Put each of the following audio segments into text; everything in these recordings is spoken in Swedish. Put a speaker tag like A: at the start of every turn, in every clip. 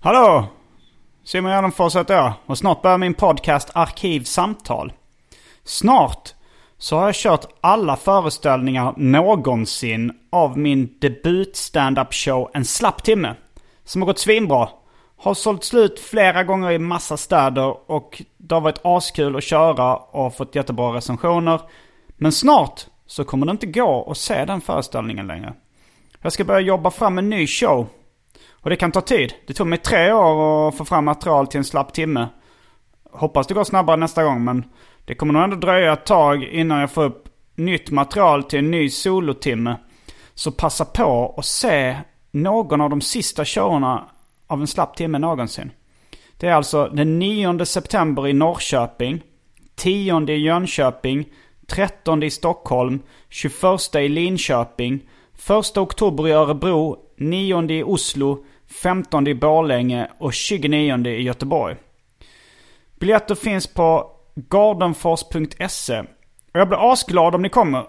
A: Hallå! Simon Gärdenfors heter jag och snart börjar min podcast Arkivsamtal. Snart så har jag kört alla föreställningar någonsin av min debut stand-up show En slapp timme. Som har gått svinbra. Har sålt slut flera gånger i massa städer och det har varit askul att köra och fått jättebra recensioner. Men snart så kommer det inte gå att se den föreställningen längre. Jag ska börja jobba fram en ny show och det kan ta tid. Det tog mig tre år att få fram material till en slapp timme. Hoppas det går snabbare nästa gång men det kommer nog ändå dröja ett tag innan jag får upp nytt material till en ny solotimme. Så passa på att se någon av de sista showerna av en slapp timme någonsin. Det är alltså den 9 september i Norrköping, 10 i Jönköping, 13 i Stockholm, 21 i Linköping, 1 oktober i Örebro, 9 i Oslo, 15 i Borlänge och 29 i Göteborg. Biljetter finns på gardenfors.se. Och jag blir asglad om ni kommer.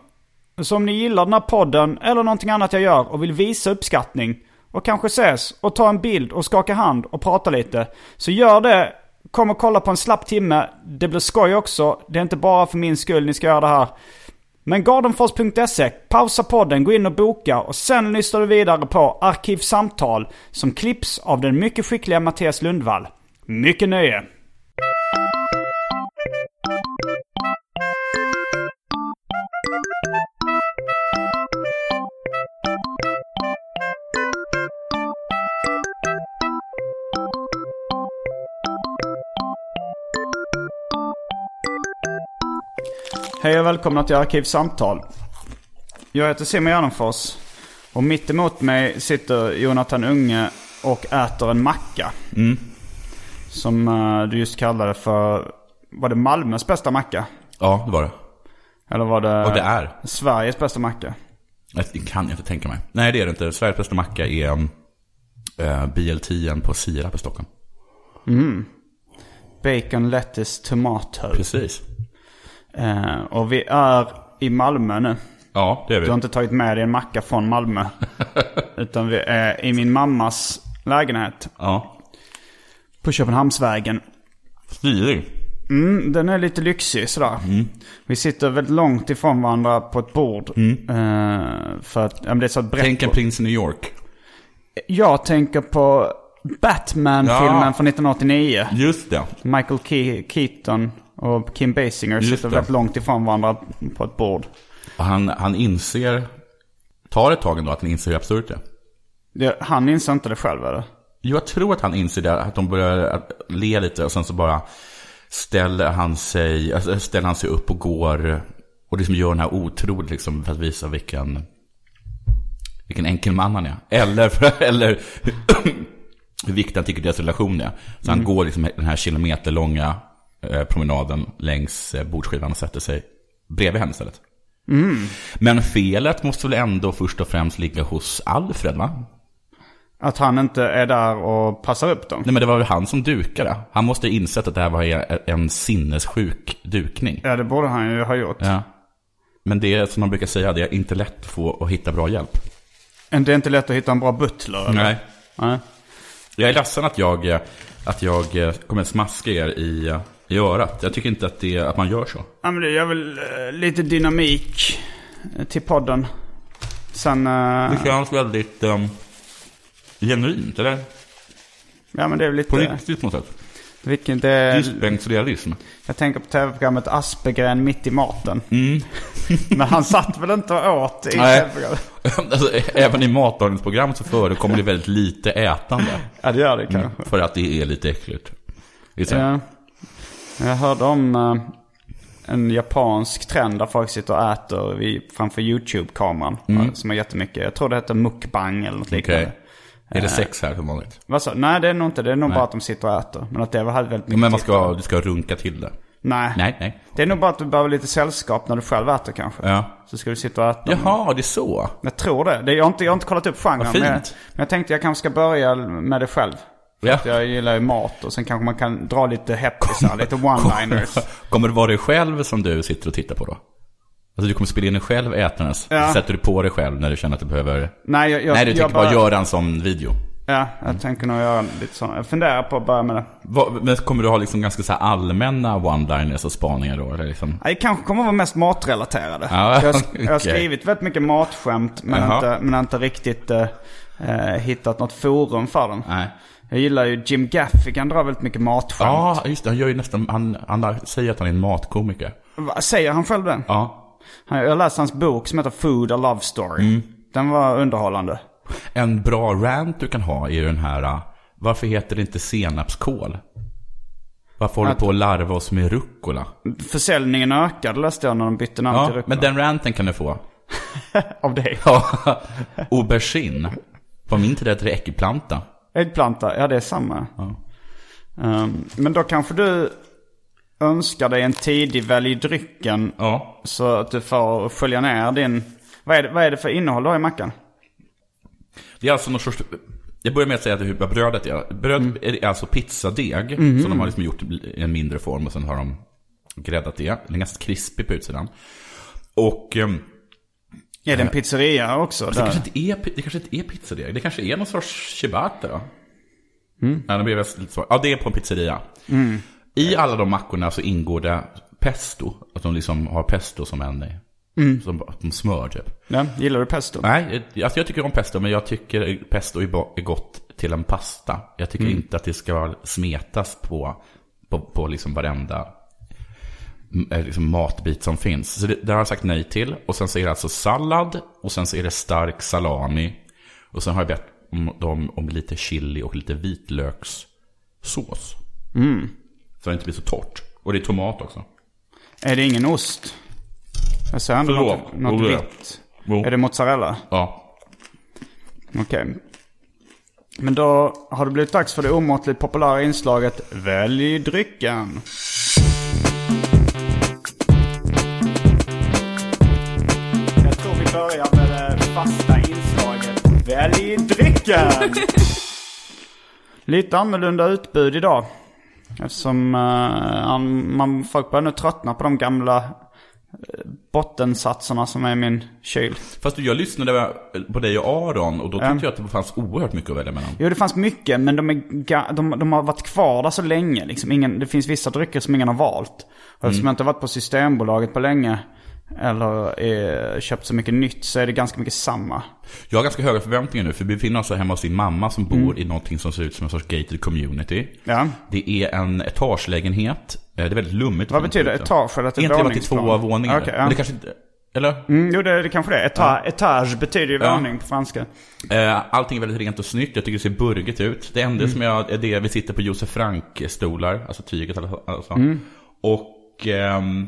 A: Så om ni gillar den här podden eller någonting annat jag gör och vill visa uppskattning och kanske ses och ta en bild och skaka hand och prata lite. Så gör det. Kom och kolla på en slapp timme. Det blir skoj också. Det är inte bara för min skull ni ska göra det här. Men gardenfors.se, pausa podden, gå in och boka och sen lyssnar du vidare på Arkivsamtal som klipps av den mycket skickliga Mattias Lundvall. Mycket nöje! Hej och välkomna till Arkivsamtal. Jag heter Simon Gärdenfors och mitt emot mig sitter Jonathan Unge och äter en macka.
B: Mm.
A: Som eh, du just kallade för, var det Malmös bästa macka?
B: Ja, det var det.
A: Eller var det,
B: Och det är.
A: Sveriges bästa macka?
B: Det kan jag inte tänka mig. Nej, det är det inte. Sveriges bästa macka är um, eh, BLT på Sirap i Stockholm.
A: Bacon, lettuce, tomato.
B: Precis.
A: Eh, och vi är i Malmö nu.
B: Ja, det är vi.
A: Du har inte tagit med dig en macka från Malmö. utan vi är i min mammas lägenhet
B: Ja.
A: på Köpenhamnsvägen.
B: Smidig.
A: Mm, den är lite lyxig sådär.
B: Mm.
A: Vi sitter väldigt långt ifrån varandra på ett bord.
B: Mm.
A: Eh, för att, ja, men det är så ett brett
B: Tänk en
A: bord.
B: prins i New York.
A: Jag tänker på Batman-filmen
B: Ja.
A: från 1989.
B: Just det.
A: Michael Ke- Keaton och Kim Basinger
B: Just
A: sitter
B: det.
A: väldigt långt ifrån varandra på ett bord.
B: Och han, han inser, tar ett tag ändå att han inser hur absurt det är.
A: Det, han inser inte det själv eller?
B: Jag tror att han inser det, att de börjar att le lite och sen så bara ställer han sig, alltså ställer han sig upp och går och liksom gör den här otroligt liksom för att visa vilken, vilken enkel man han är. Eller, för, eller hur viktig han tycker deras relation är. Så han går liksom den här kilometerlånga eh, promenaden längs eh, bordsskivan och sätter sig bredvid henne istället. Men felet måste väl ändå först och främst ligga hos Alfred va?
A: Att han inte är där och passar upp dem.
B: Nej men det var väl han som dukade. Han måste ha insett att det här var en sinnessjuk dukning.
A: Ja, det borde han ju ha gjort.
B: Ja. Men det är som man brukar säga, det är inte lätt att få att hitta bra hjälp.
A: Men Det är inte lätt att hitta en bra butler. eller?
B: Nej.
A: Nej.
B: Jag är ledsen att jag, eh, att jag eh, kommer smaska er i, eh, i örat. Jag tycker inte att, det, att man gör så.
A: Ja, men det gör väl eh, lite dynamik eh, till podden. Sen... eh,
B: Det känns väldigt um, genuint, eller?
A: ja, men det är väl
B: På
A: lite...
B: riktigt på något sätt.
A: Vilken, det,
B: Diskbänksrealism.
A: jag tänker på tv-programmet Aspegren mitt i maten. Men han satt väl inte och åt i
B: Mm. Nej.
A: tv-programmet?
B: Alltså, ä- även i matlagningsprogram så förekommer det väldigt lite ätande.
A: Ja, det gör det kanske.
B: För att det är lite äckligt. Det är så här,
A: Ja. Mm. Jag hörde om eh, en japansk trend där folk sitter och äter vid, framför YouTube-kameran. eh, Som är jättemycket. Jag tror det heter mukbang eller något liknande.
B: Mm. Okej. Eh, Är det sex här som vanligt?
A: Vad sa- Nej, det är nog inte. Det är nog bara att de sitter och äter. Men att det hade väldigt mycket
B: Men man
A: tittare.
B: ska, du ska runka till det.
A: Nej.
B: Nej, nej.
A: Det är nog bara att du behöver lite sällskap när du själv äter kanske.
B: Ja.
A: Så ska du sitta och äta.
B: Jaha, det är så.
A: Jag tror det. det jag, har inte, jag har inte kollat upp genren.
B: Vad
A: Men,
B: fint.
A: jag, men jag tänkte jag kanske ska börja med det själv.
B: Ja.
A: Jag gillar ju mat och sen kanske man kan dra lite heppisar, lite one-liners.
B: Kommer det vara dig själv som du sitter och tittar på då? Alltså du kommer spela in dig själv ätandes.
A: Ja.
B: Sätter du på dig själv när du känner att du behöver...
A: Nej, jag, jag,
B: Nej, du
A: jag
B: tänker bara göra en sån video.
A: Ja, jag tänker nog göra lite sånt. Jag funderar på att börja med det.
B: Vad- Men kommer du ha liksom ganska så här allmänna one-liners och spaningar då? Eller liksom?
A: Nej, Det kanske kommer att vara mest matrelaterade.
B: Ja,
A: jag, har sk- jag har
B: okej.
A: skrivit väldigt mycket matskämt men,
B: Jaha.
A: inte, men inte riktigt eh, eh, hittat något forum för dem.
B: Nej.
A: Jag gillar ju Jim Gaffigan drar väldigt mycket matskämt.
B: Ja, just det. Han gör ju nästan... Han, han säger att han är en matkomiker.
A: Va, Säger han själv det?
B: Ja.
A: Han- Jag läste hans bok som heter Food A Love Story.
B: Mm.
A: Den var underhållande.
B: En bra rant du kan ha är ju den här, ah, varför heter det inte senapskål? Varför håller du på att larva oss med rucola?
A: Försäljningen ökade läste jag när de bytte namn till
B: Ja,
A: rucola.
B: men den ranten kan du få.
A: Av dig.
B: Ja, aubergine. På min tid hette det äckelplanta.
A: Äggplanta, ja det är samma. Ehm, men då kanske du önskar dig en tidig välj drycken
B: Ja.
A: så att du får skölja ner din... Vad är det, vad är det för innehåll du har i mackan?
B: Det är alltså någon sorts... Jag börjar med att säga att hur vad brödet är. Bröd är alltså pizzadeg som de har liksom gjort i en mindre form och sen har de gräddat det. Den är ganska krispig på utsidan. Och ehm,
A: Är det en pizzeria också?
B: det,
A: Där?
B: kanske Eh. inte är, det kanske inte är pizzadeg. Det kanske är någon sorts ciabatta då? Ja, det blev lite svårt. Ja, det är på en pizzeria. I alla de mackorna så ingår det pesto. Att de liksom har pesto som en... Som, som smör typ.
A: Ja, gillar du pesto?
B: Nej, alltså jag tycker om pesto, men jag tycker pesto är bo- är gott till en pasta. Jag tycker
A: Mm.
B: inte att det ska smetas på, på, på liksom varenda mm, eh, liksom matbit som finns. Så det, det har jag sagt nej till. Och sen så är det alltså sallad, och sen så är det stark salami. Och sen har jag bett om, dem om lite chili och lite vitlökssås.
A: Mm.
B: Så det inte blir så torrt. Och det är tomat också.
A: Är det ingen ost? Jag ser ändå
B: Förlåt. Oh.
A: något, något
B: Jo, det är.
A: vitt.
B: Jo.
A: Är det mozzarella?
B: Ja,
A: Okej. Men då har det blivit dags för det omåttligt populära inslaget Välj drycken. Jag tror vi börjar med det fasta inslaget Välj drycken. Lite annorlunda utbud idag. Eftersom eh, an- man, folk börjar nu tröttna på de gamla eh, bottensatserna som är i min kyl.
B: Fast du, jag lyssnade på dig och Aron och då tyckte jag att det fanns oerhört mycket att välja mellan.
A: Jo, det fanns mycket, men de, är ga- de, de har varit kvar där så länge. Liksom. Ingen, det finns vissa drycker som ingen har valt. Och eftersom
B: Mm.
A: jag inte har varit på Systembolaget på länge, eller eh, köpt så mycket nytt, så är det ganska mycket samma.
B: Jag har ganska höga förväntningar nu, för vi befinner oss hemma hos din mamma som bor i någonting som ser ut som en sorts gated community.
A: Mm. Ja.
B: Det är en etagelägenhet. Eh, Det är väldigt lummigt.
A: Vad betyder
B: Inte.
A: etage? Eller att det är
B: Inte väl att det är
A: våningsplan?
B: två våningar?
A: Okej, ja.
B: Men det kanske inte... Eller?
A: Mm, jo, det, det kanske det är. Eta- Etage betyder ju
B: Ja.
A: våning på franska.
B: Eh, Allting är väldigt rent och snyggt. Jag tycker det ser burgigt ut. Det
A: Mm.
B: enda som jag... är det vi sitter på Josef Frank-stolar, alltså tyget eller alltså.
A: Mm.
B: Och ehm,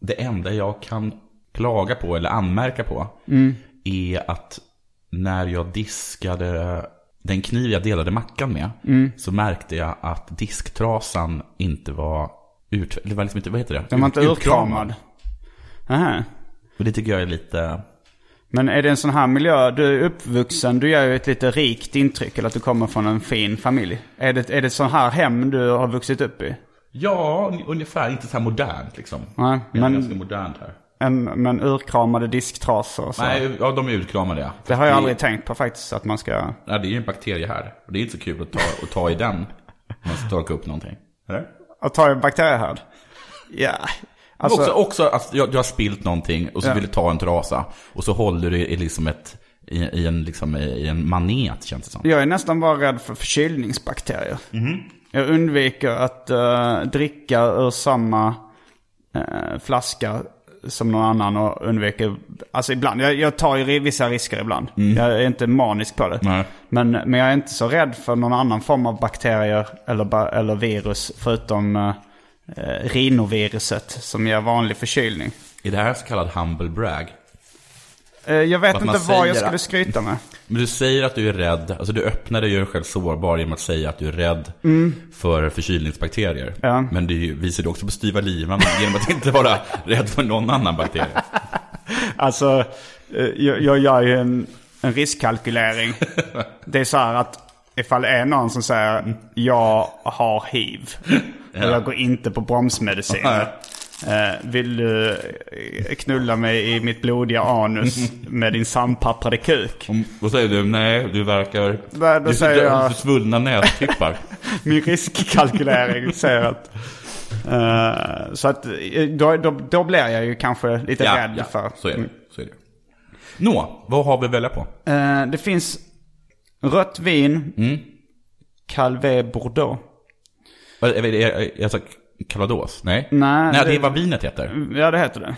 B: det enda jag kan klaga på eller anmärka på
A: Mm.
B: är att när jag diskade den kniv jag delade mackan med
A: Mm.
B: så märkte jag att disktrasan inte var ut... Det var liksom inte... Vad heter det?
A: Den var inte
B: Ut-
A: urkramad. Aha.
B: Och det tycker jag är lite...
A: Men är det en sån här miljö, du är uppvuxen, du gör ju ett lite rikt intryck, eller att du kommer från en fin familj. Är det, är det sån här hem du har vuxit upp i?
B: Ja, ungefär. Inte så här modernt liksom.
A: Nej,
B: Det är
A: men-
B: ganska modernt här.
A: En, men urkramade disktrasor och så.
B: Nej, ja, de är utkramade ja.
A: Det har jag aldrig tänkt på faktiskt att man ska...
B: Nej, det är ju en bakterie här. Och det är inte så kul att ta, att ta i den. Om man ska torka upp någonting. Eller?
A: Att ta en bakteriehärd. Ja. Alltså,
B: också också att jag, du har spilt någonting och så
A: Ja.
B: vill du ta en trasa. Och så håller du i liksom ett... I, i, en, liksom, I en manet känns det som.
A: jag är nästan bara rädd för förkylningsbakterier.
B: Mhm.
A: Jag undviker att eh, dricka ur samma eh, flaska som någon annan och undviker. Alltså ibland, jag, jag tar ju ri- vissa risker ibland. Jag är inte manisk på det.
B: Mm. Nej.
A: Men, men jag är inte så rädd för någon annan form av bakterier eller, ba- eller virus förutom eh, eh, rinoviruset som ger vanlig förkylning.
B: Är det här så kallad humble brag?
A: Eh, jag vet
B: Att man
A: inte vad jag
B: säger
A: skulle
B: att-
A: skryta med.
B: Men du säger att du är rädd, alltså du öppnar dig och gör dig själv sårbar genom att säga att du är rädd för förkylningsbakterier.
A: Mm. Ja.
B: Men det är ju- visar du också på styva livan genom att inte vara rädd för någon annan bakterie.
A: Alltså, eh, jag, jag gör ju en, en riskkalkylering. Det är så här att ifall det är någon som säger jag har hiv. Och jag går inte på bromsmedicin. Eh, vill du eh, knulla mig i mitt blodiga anus med din sampapprade kuk?
B: Om, vad säger du? Nej, du verkar...
A: Nej, då
B: du
A: säger jag-
B: du svullna nästippar.
A: Min riskkalkylering säger att... eh, så att eh, då, då, då blir jag ju kanske lite rädd för.
B: så är det. Så är det. Nå, vad har vi att välja på?
A: Eh, det finns rött vin,
B: Mm.
A: Calvé Bordeaux.
B: Vad- är- är- är- Jag sa calvados? Nej?
A: Nej,
B: Nej, det
A: det-
B: är vad vinet heter.
A: Ja, det heter det.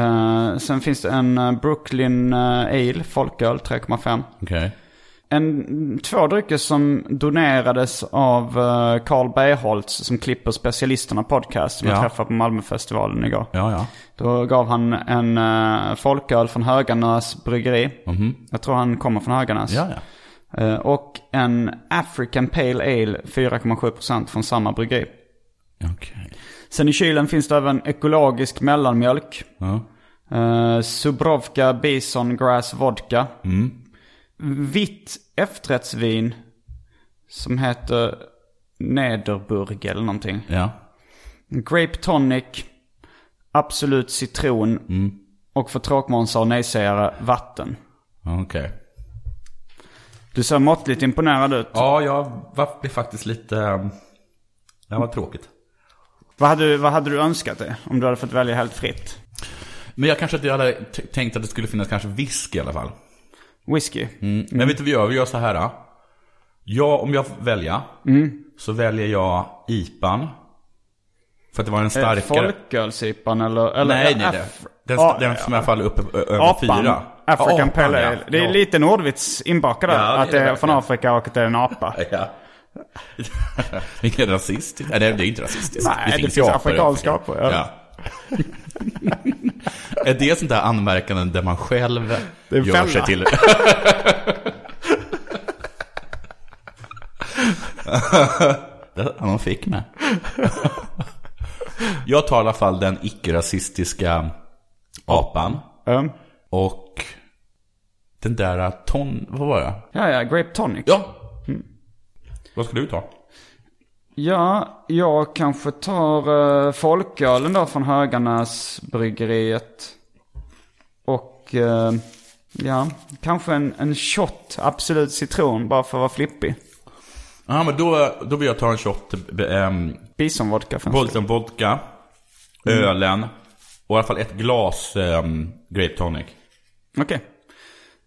A: Eh, sen finns det en eh, Brooklyn eh, Ale, folköl 3,5.
B: Okej.
A: En, två drycker som donerades av eh, Carl Bergholtz som klipper Specialisterna podcast som jag
B: Ja.
A: träffade på Malmöfestivalen igår.
B: Ja, ja.
A: Då gav han en eh, folköl från Höganäs bryggeri. Jag tror han kommer från Höganäs.
B: Mhm. Ja, ja.
A: Eh, och en African Pale Ale 4,7% från samma bryggeri.
B: Okej.
A: Sen i kylen finns det även ekologisk mellanmjölk.
B: Ja.
A: Eh, Subrovka Bison Grass Vodka. Vitt efterrättsvin som heter Nederburg eller någonting.
B: ja.
A: Grape tonic, Absolut citron och för tråkmånsar och nejsägare vatten.
B: Okej.
A: Du ser måttligt imponerad ut.
B: Ja, jag var- blev faktiskt lite... ehm, Det var tråkigt.
A: Vad, hade, vad hade du önskat dig om du hade fått välja helt fritt?
B: Men jag kanske inte hade t- tänkt att det skulle finnas kanske whisky i alla fall.
A: Whisky?
B: Men vet du vad vi gör? Vi gör så här. då. Jag, om jag får välja,
A: Mm.
B: så väljer jag IPan. För att det var en
A: Eh,
B: starkare...
A: Folkölsipan eller? eller
B: Nej, nej, nej.
A: Af-
B: Den,
A: Ah,
B: den som i alla fall är uppe ö- över
A: Apan.
B: fyra.
A: African
B: Ja, apan,
A: Pale
B: ja.
A: Ale. Det är
B: Ja.
A: lite en ordvits inbakad där.
B: Ja, det
A: att
B: är
A: det
B: det
A: är
B: verkligen.
A: från Afrika och att det är en apa.
B: Ja. Vilken rasistisk. Nej, det är inte rasistiskt.
A: Nej, det finns afrikanska apor, ja.
B: Ja. är det sånt där anmärkanden där man själv
A: är en
B: gör
A: fälla.
B: sig till... Där- ja, de fick mig. Jag tar i alla fall den icke-rasistiska apan.
A: Ehm,
B: Och den där ton... Vad var det?
A: ja, ja. Grape tonic.
B: Ja.
A: Mm.
B: Vad ska du ta?
A: Ja, jag kanske tar uh, folkölen då från Höganäsbryggeriet. Och eh, ja, kanske en, en shot Absolut citron bara för att vara flippig.
B: Ja, men då, då vill jag ta en shot ähm,
A: Bisonvodka finns det.
B: Bolton vodka, ölen och i alla fall ett glas ehm, grape tonic.
A: Okej.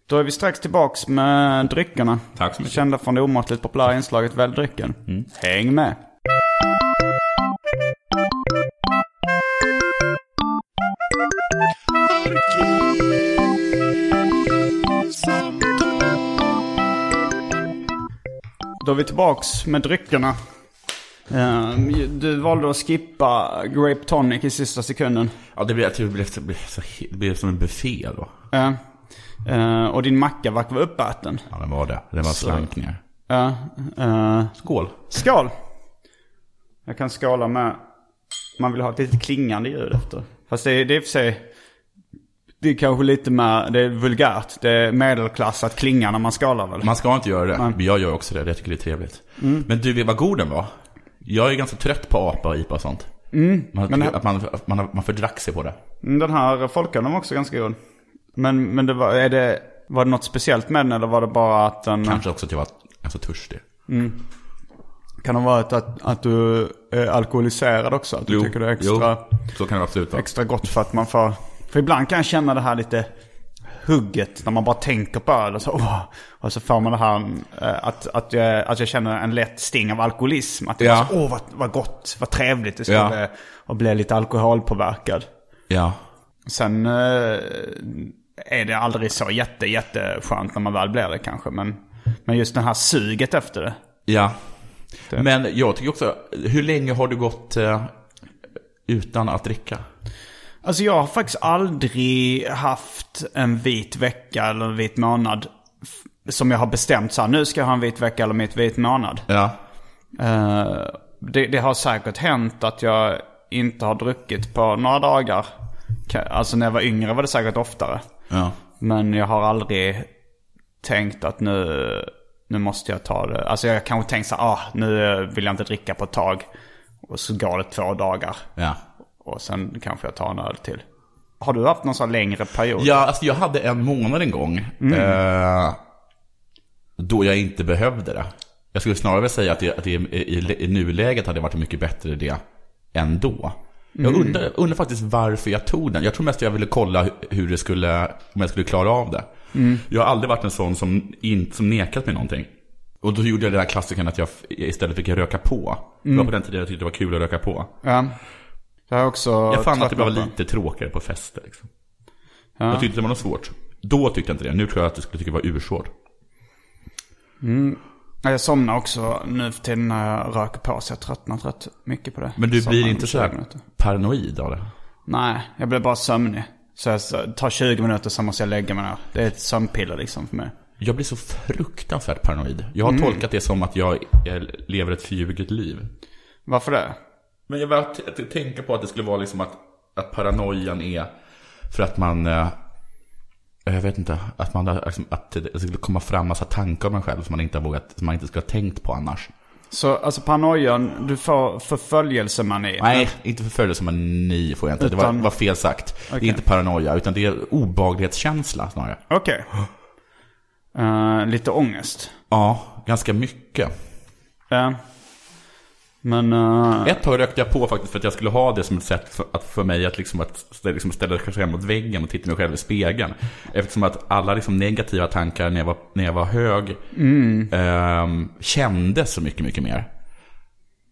A: Då är vi strax tillbaks med dryckerna.
B: Tack så mycket. Mm.
A: Kända från det omåttligt populära inslaget Välj drycken. Häng med. Då är vi tillbaks med dryckerna. Ehm, Du valde att skippa Grape Tonic i sista sekunden.
B: Ja, det blir, jag tror det blir, det blir, så, he- det blir som en buffé då.
A: Ja. Eh, Ehm, och din macka verkar vara uppäten.
B: Ja, den var det. Den var slank ner.
A: Ja. eh,
B: Skål.
A: skål! Jag kan skala med... Man vill ha ett lite klingande ljud efter. Fast det, är- det är i och för sig... Det är kanske lite mer... Det är vulgärt. Det är medelklass att klinga när man skalar väl?
B: Man ska inte göra det, men jag gör också det. Jag tycker det är trevligt. Men du, vet vad god den var. Jag är ganska trött på apa och IPA och sånt. Man,
A: men-
B: att man, att man, har- man fördrack sig på det.
A: Mm, Den här folkölen var också ganska god. Men, men det var... Är det, var det något speciellt med den eller var det bara att den...
B: Kanske också att jag var ganska törstig.
A: Kan det vara att, att, att du är alkoholiserad också? Att du tycker det är extra...
B: jo, så kan det absolut vara.
A: extra gott för att man får... För ibland kan jag känna det här lite hugget när man bara tänker på öl och så, åh, och så får man det här eh, att, att, jag, att jag känner en lätt sting av alkoholism. Att det
B: Ja.
A: är så, åh vad, vad gott, vad trevligt det skulle
B: Ja.
A: och bli lite alkoholpåverkad.
B: Ja.
A: Sen eh, är det aldrig så jätte, jätteskönt när man väl blir det kanske. Men, men just det här suget efter det.
B: Ja. Men jag tycker också, hur länge har du gått eh, utan att dricka?
A: Alltså jag har faktiskt aldrig haft en vit vecka eller en vit månad. f- Som jag har bestämt så här, nu ska jag ha en vit vecka eller mitt vit månad.
B: Ja.
A: Eh, det, det har säkert hänt att jag inte har druckit på några dagar. Ka- Alltså när jag var yngre var det säkert oftare.
B: Ja.
A: Men jag har aldrig tänkt att nu, nu måste jag ta det. Alltså jag har kanske tänkt så här, ah, nu vill jag inte dricka på ett tag. Och så går det två dagar.
B: Ja.
A: Och sen kanske jag tar en öl till. Har du haft någon sån längre period?
B: Ja, alltså jag hade en månad en gång. Eh, då jag inte behövde det. Jag skulle snarare säga att, det, att det, i, i nuläget hade det varit en mycket bättre idé än då. Jag undrar, undrar faktiskt varför jag tog den. Jag tror mest jag ville kolla hu- hur det skulle, om jag skulle klara av det. Jag har aldrig varit en sån som, in, som nekat mig någonting. Och då gjorde jag den här klassikern att jag f- istället fick jag röka på. Det var på den tiden jag tyckte det var kul att röka på.
A: Ja. Jag har också...
B: Jag fann att det var
A: tröttnat på-
B: lite tråkigare på fester. Liksom. Jag tyckte det var något svårt. Då tyckte jag inte det. Nu tror jag att jag skulle tycka det var ursvårt.
A: Ja, Jag somnar också nu för tiden när jag röker på så jag har tröttnat rätt mycket på det.
B: Men du
A: Somnar
B: blir
A: om
B: inte
A: 20
B: så här
A: minuter.
B: paranoid av det?
A: Nej, jag blir bara sömnig. Så jag så- tar 20 minuter så måste jag lägga mig ner. Det är ett sömnpiller liksom för mig.
B: Jag blir så fruktansvärt paranoid. Jag har tolkat det som att jag eh, lever ett förljuget liv.
A: Varför det?
B: Men jag började t- t- tänka på att det skulle vara liksom att, att paranoian är för att man... eh, Jag vet inte. Att, man, har- liksom, att det skulle komma fram massa tankar om en själv som man inte har vågat, som man inte skulle ha tänkt på annars.
A: Så alltså paranoian, du får förföljelsemani.
B: Nej, inte förföljelse men ni får jag inte. Det
A: Utan-
B: var, var fel sagt. Det är inte paranoia, utan det är obehaglighetskänsla snarare.
A: Okej. Eh, lite ångest.
B: Ja, ganska mycket.
A: Ja. men... eh,
B: Ett tag rökte jag på faktiskt för att jag skulle ha det som ett sätt för, att, för mig att, liksom, att stä- liksom ställa sig mot väggen och titta mig själv i spegeln. Eftersom att alla liksom, negativa tankar när jag var, när jag var hög ehm, kändes så mycket, mycket mer.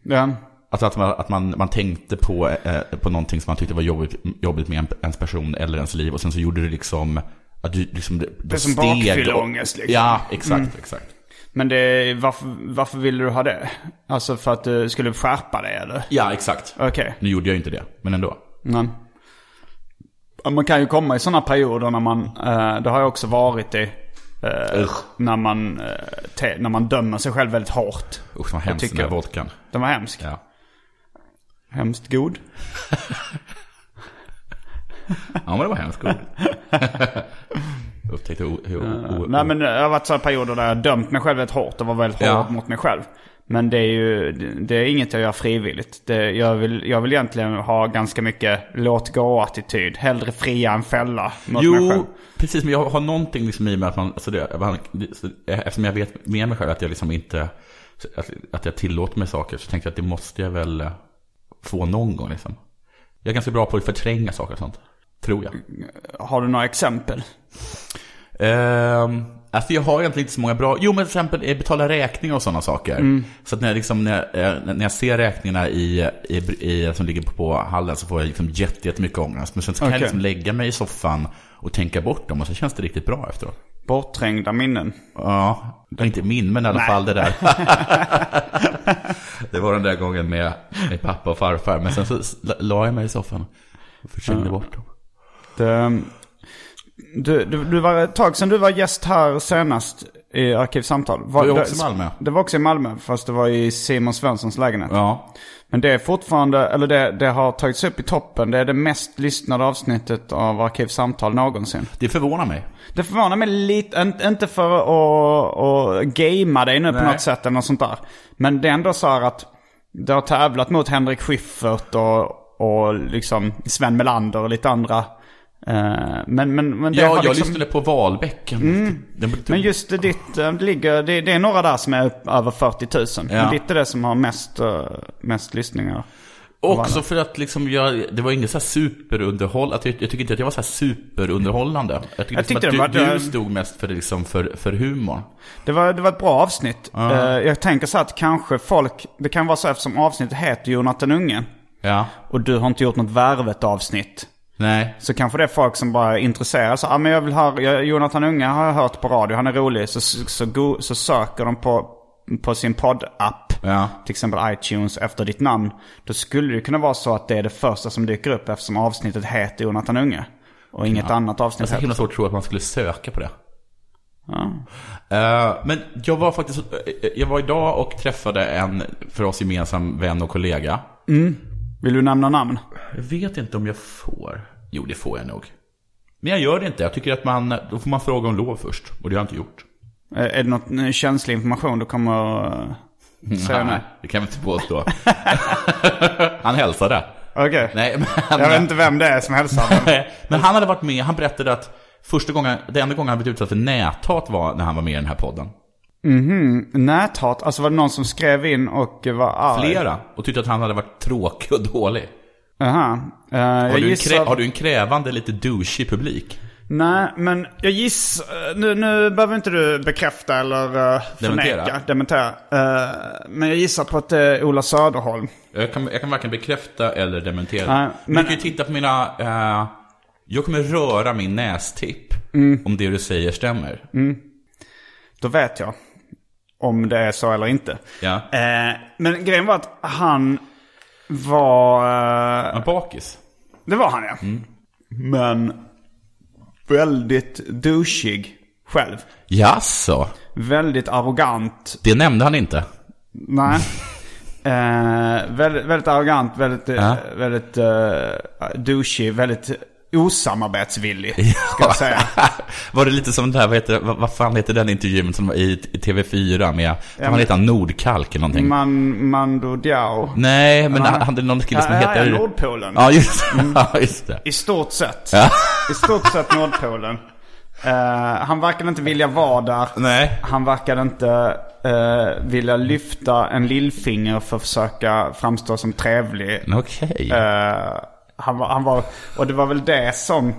A: ja.
B: Alltså att man, att man, man tänkte på, eh, på någonting som man tyckte var jobbigt, jobbigt med en, ens person eller ens liv och sen så gjorde det liksom att du liksom... Det, det
A: är som bakfylleångest, liksom.
B: Ja, exakt, exakt.
A: Men det, varför, varför ville du ha det? Alltså för att du skulle skärpa dig eller?
B: Ja, exakt.
A: Okej.
B: Nu gjorde jag ju inte det, men ändå.
A: Men, man kan ju komma i sådana perioder när man, eh, det har jag också varit i, eh, när, man, eh, te, när man dömer sig själv väldigt hårt.
B: Usch vad hemskt den
A: tycker-
B: där vodkan.
A: Den var hemsk.
B: Ja.
A: Hemskt god.
B: ja, men det var hemskt god. Upptäckte o, hur... o, o,
A: Nej men jag har varit sådana perioder där jag dömt mig själv väldigt hårt och var väldigt
B: Ja.
A: hård mot mig själv. Men det är ju det- det är inget jag gör frivilligt. Det, jag, vill, jag vill egentligen ha ganska mycket låt gå-attityd. Hellre fria än fälla mot mig själv.
B: Jo, precis. Men jag har någonting liksom i mig att man, alltså det, man så, eftersom jag vet med mig själv att jag liksom inte, att, att jag tillåter mig saker, så tänkte jag att det måste jag väl eh, få någon gång liksom. Jag är ganska bra på att förtränga saker och sånt, tror jag.
A: Har du några exempel?
B: Ehm, alltså jag har egentligen inte så många bra, jo men till exempel eh, betala räkningar och sådana saker.
A: Mm.
B: Så att när jag, liksom, när, jag, eh, när jag ser räkningarna i, i, i, som ligger på, på hallen så får jag liksom jätte- jättemycket ångest. Men sen så kan
A: Okej.
B: jag liksom lägga mig i soffan och tänka bort dem och så känns det riktigt bra efteråt.
A: Bortträngda minnen.
B: Ja, det är inte min, men i alla fall det där. det var den där gången med, med pappa och farfar. Men sen så s- la- la jag mig i soffan och försvinner bort dem.
A: Det, ehm, du, du, du var ett tag sedan du var gäst här senast i Arkivsamtal. Var,
B: Var jag också i Malmö?
A: Det var också i Malmö, fast det var i Simon Svenssons lägenhet.
B: Ja,
A: Men det är fortfarande, eller det, det har tagits upp i toppen. Det är det mest lyssnade avsnittet av Arkivsamtal någonsin.
B: det förvånar mig.
A: Det förvånar mig lite, in- inte för att, att gamea dig nu på
B: Nej.
A: något sätt eller något sånt där. Men det är ändå så här att det har tävlat mot Henrik Schiffert och, och liksom Sven Melander och lite andra. Eh, Men, men, men det
B: Ja,
A: har
B: jag
A: liksom... Mm.
B: lyssnade på Valbäcken. Den,
A: Men just det, ditt eh, ligger, det, det är några där som är upp över 40 000. Men
B: Ja.
A: ditt är det som har mest, eh, mest lyssningar.
B: också för att liksom jag, det var inget så här superunderhåll, att jag, jag tycker inte att jag var så här superunderhållande. Jag tyckte,
A: Jag
B: liksom
A: tyckte
B: att
A: det
B: du,
A: var-
B: du stod mest för, liksom, för, för humorn.
A: Det var, det var ett bra avsnitt. Eh, Jag tänker så att kanske folk, det kan vara så eftersom avsnittet heter Jonathan Unge.
B: Ja.
A: Och du har inte gjort något värvet avsnitt.
B: Nej.
A: Så kanske det är folk som bara är intresserade. Så, ah, men jag vill höra, jag, Jonathan Unge har jag hört på radio, han är rolig. Så, så, så, go, så söker de på, på sin poddapp.
B: Ja.
A: Till exempel iTunes efter ditt namn. Då skulle det kunna vara så att det är det första som dyker upp eftersom avsnittet heter Jonathan Unge. Och inget annat
B: Det är
A: avsnitt
B: så
A: heter.
B: himla svårt att tro att man skulle söka på det.
A: Ja.
B: Eh, men jag var faktiskt, eh, jag var idag och träffade en för oss gemensam vän och kollega.
A: Vill du nämna namn?
B: Jag vet inte om jag får. Jo, det får jag nog. Men jag gör det inte. Jag tycker att man, då får man fråga om lov först. Och det har jag inte gjort.
A: Eh, Är det något eh, känslig information du kommer eh,
B: Mm.
A: säga nej?
B: det kan vi inte påstå. han hälsade.
A: Okej.
B: Nej, men,
A: Jag vet inte vem det är som hälsar. men-
B: men han hade varit med, han berättade att första gången, den enda gången han blivit utsatt för näthat var när han var med i den här podden.
A: Näthat, alltså var det någon som skrev in och eh, var arg?
B: Flera. Och tyckte att han hade varit tråkig och dålig.
A: Aha. Eh,
B: Har
A: jag
B: du, en
A: gissar...
B: krä, har du en krävande, lite douchig publik?
A: Nej, men jag gissar... eh, Nu, nu behöver inte du bekräfta eller eh,
B: Dementera.
A: förneka, dementera. Eh, men jag gissar på att det är Ola Söderholm.
B: Jag kan, jag kan varken bekräfta eller dementera.
A: Nej,
B: men...
A: men-
B: Du kan ju titta på mina... eh, jag kommer röra min nästipp om det du säger stämmer.
A: Då vet jag om det är så eller inte.
B: Ja.
A: Eh, men grejen var att han var... eh,
B: En bakis.
A: Det var han ja.
B: Mm.
A: Men väldigt douchig själv.
B: Jaså?
A: Väldigt arrogant.
B: Det nämnde han inte.
A: Nej. eh, väldigt, väldigt arrogant, väldigt, eh,
B: Ja.
A: väldigt eh, douchig, väldigt osamarbetsvillig. Ska jag säga.
B: var det lite som det här, vad, heter, det- vad, vad fan heter den intervjun som var i, i TV4 med, vad han
A: men-
B: heter han, Nordkalk eller någonting?
A: Man, Mando Diao.
B: Nej, men
A: Men
B: han
A: han-
B: hade någon kille som
A: Ja, ja,
B: heter...
A: ja, Nordpolen.
B: Ja, Mm. just, ja, just det.
A: I stort sett.
B: Ja.
A: I stort sett Nordpolen. Eh, han verkade inte vilja vara där.
B: Nej.
A: Han verkade inte eh, vilja lyfta en lillfinger för att försöka framstå som trevlig.
B: Okej.
A: Eh, han, var, han var, och det var väl det som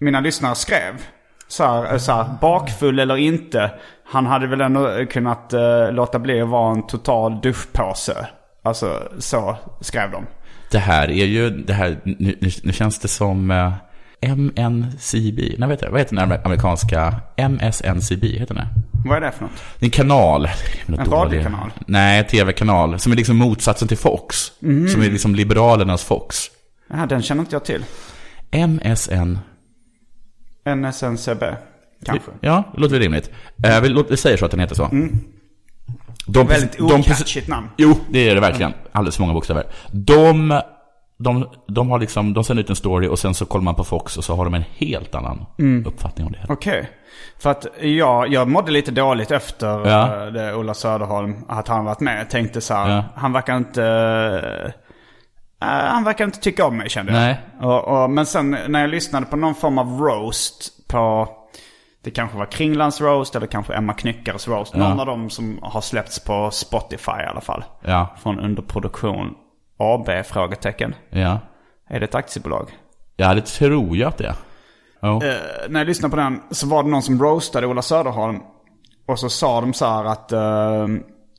A: mina lyssnare skrev. Så här, eh, så här, bakfull eller inte. Han hade väl ändå kunnat eh, låta bli att vara en total duschpåse. Alltså så skrev de.
B: Det här är ju, det här, nu, nu, nu känns det som eh, MNCB, nej vet jag, vad heter den amer- amerikanska, MSNCB heter den det?
A: Vad är det för något?
B: Det är en kanal.
A: En radiokanal?
B: Nej, en tv-kanal. Som är liksom motsatsen till Fox.
A: Mhm.
B: Som är liksom liberalernas Fox.
A: Ja, den känner inte jag till.
B: MSN.
A: NSNCB. Kanske.
B: Ja, det låter väl rimligt. Eh, vi, låt, vi säger så att den heter så. De,
A: Mm. Väldigt
B: de-
A: okatchigt namn.
B: Jo, det är det verkligen. Alldeles för många bokstäver. De, de, de har liksom, de sänder ut en story och sen så kollar man på Fox och så har de en helt annan uppfattning om det. här.
A: Mm. Okej. För att jag, jag mådde lite dåligt efter
B: Ja.
A: eh, det Ola Söderholm, att han varit med. Jag tänkte så här,
B: Ja.
A: han verkar inte... eh, han verkar inte tycka om mig kände jag.
B: Nej.
A: Och, och, men sen när jag lyssnade på någon form av roast på... Det kanske var Kringlands roast eller kanske Emma Knyckares roast. Någon av dem som har släppts på Spotify i alla fall.
B: Ja,
A: Från Underproduktion AB? frågetecken.
B: ja.
A: Är det ett aktiebolag?
B: Ja, det tror jag att det är. Ja.
A: Eh, när jag lyssnade på den så var det någon som roastade Ola Söderholm. Och så sa de så här att, eh,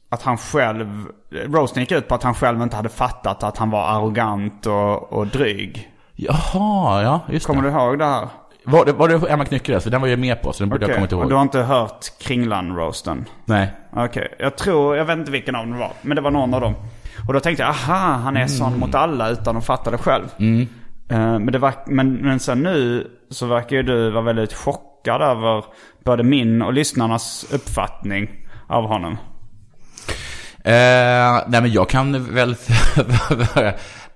A: att han själv, roasten gick ut på att han själv inte hade fattat att han var arrogant och, och dryg.
B: Jaha, ja, just
A: Kommer
B: det.
A: du ihåg det här?
B: Var, det. var det Emma Knyckeres? För den var jag med på, så den borde jag
A: Okej,
B: kommit
A: och
B: ihåg.
A: Du har inte hört Kringlan-roasten?
B: Nej.
A: Okej, jag tror, jag vet inte vilken av dem det var, men det var någon av dem. Och då tänkte jag, aha, han är sån mot alla utan att fatta det själv. Eh, men, det verk, men, men sen nu så verkar ju du vara väldigt chockad över både min och lyssnarnas uppfattning av honom.
B: Eh, nej men jag kan väl...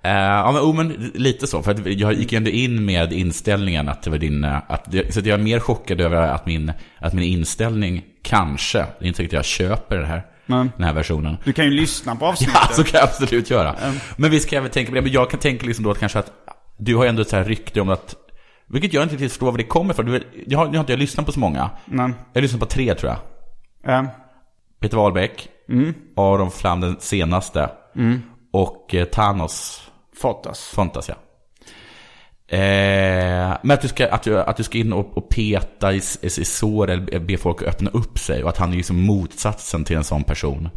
B: eh, ja men, oh, men lite så. För att jag gick ju ändå in med inställningen att det var din... eh, Att, det- så att jag är mer chockad över att min, att min inställning kanske, det är inte säkert att jag köper det här, den här versionen.
A: Du kan ju lyssna på avsnittet.
B: Ja, alltså- så kan jag absolut göra. Men vi ska även tänka på det. Men jag kan tänka liksom då att kanske att du har ändå ett så här rykte om att vilket jag inte riktigt förstår var det kommer ifrån. Du vet, Jag har, jag har inte jag lyssnat på så många.
A: Nej.
B: Jag har lyssnat på tre tror jag.
A: Eh,
B: Peter Wahlbeck,
A: Mm.
B: Aron Flam den senaste och eh, Thanos
A: Fotos.
B: Fantasia. Eh, men att du, ska, att, du, att du ska in och, och peta i, i, i sår eller be folk att öppna upp sig och att han är liksom motsatsen till en sån person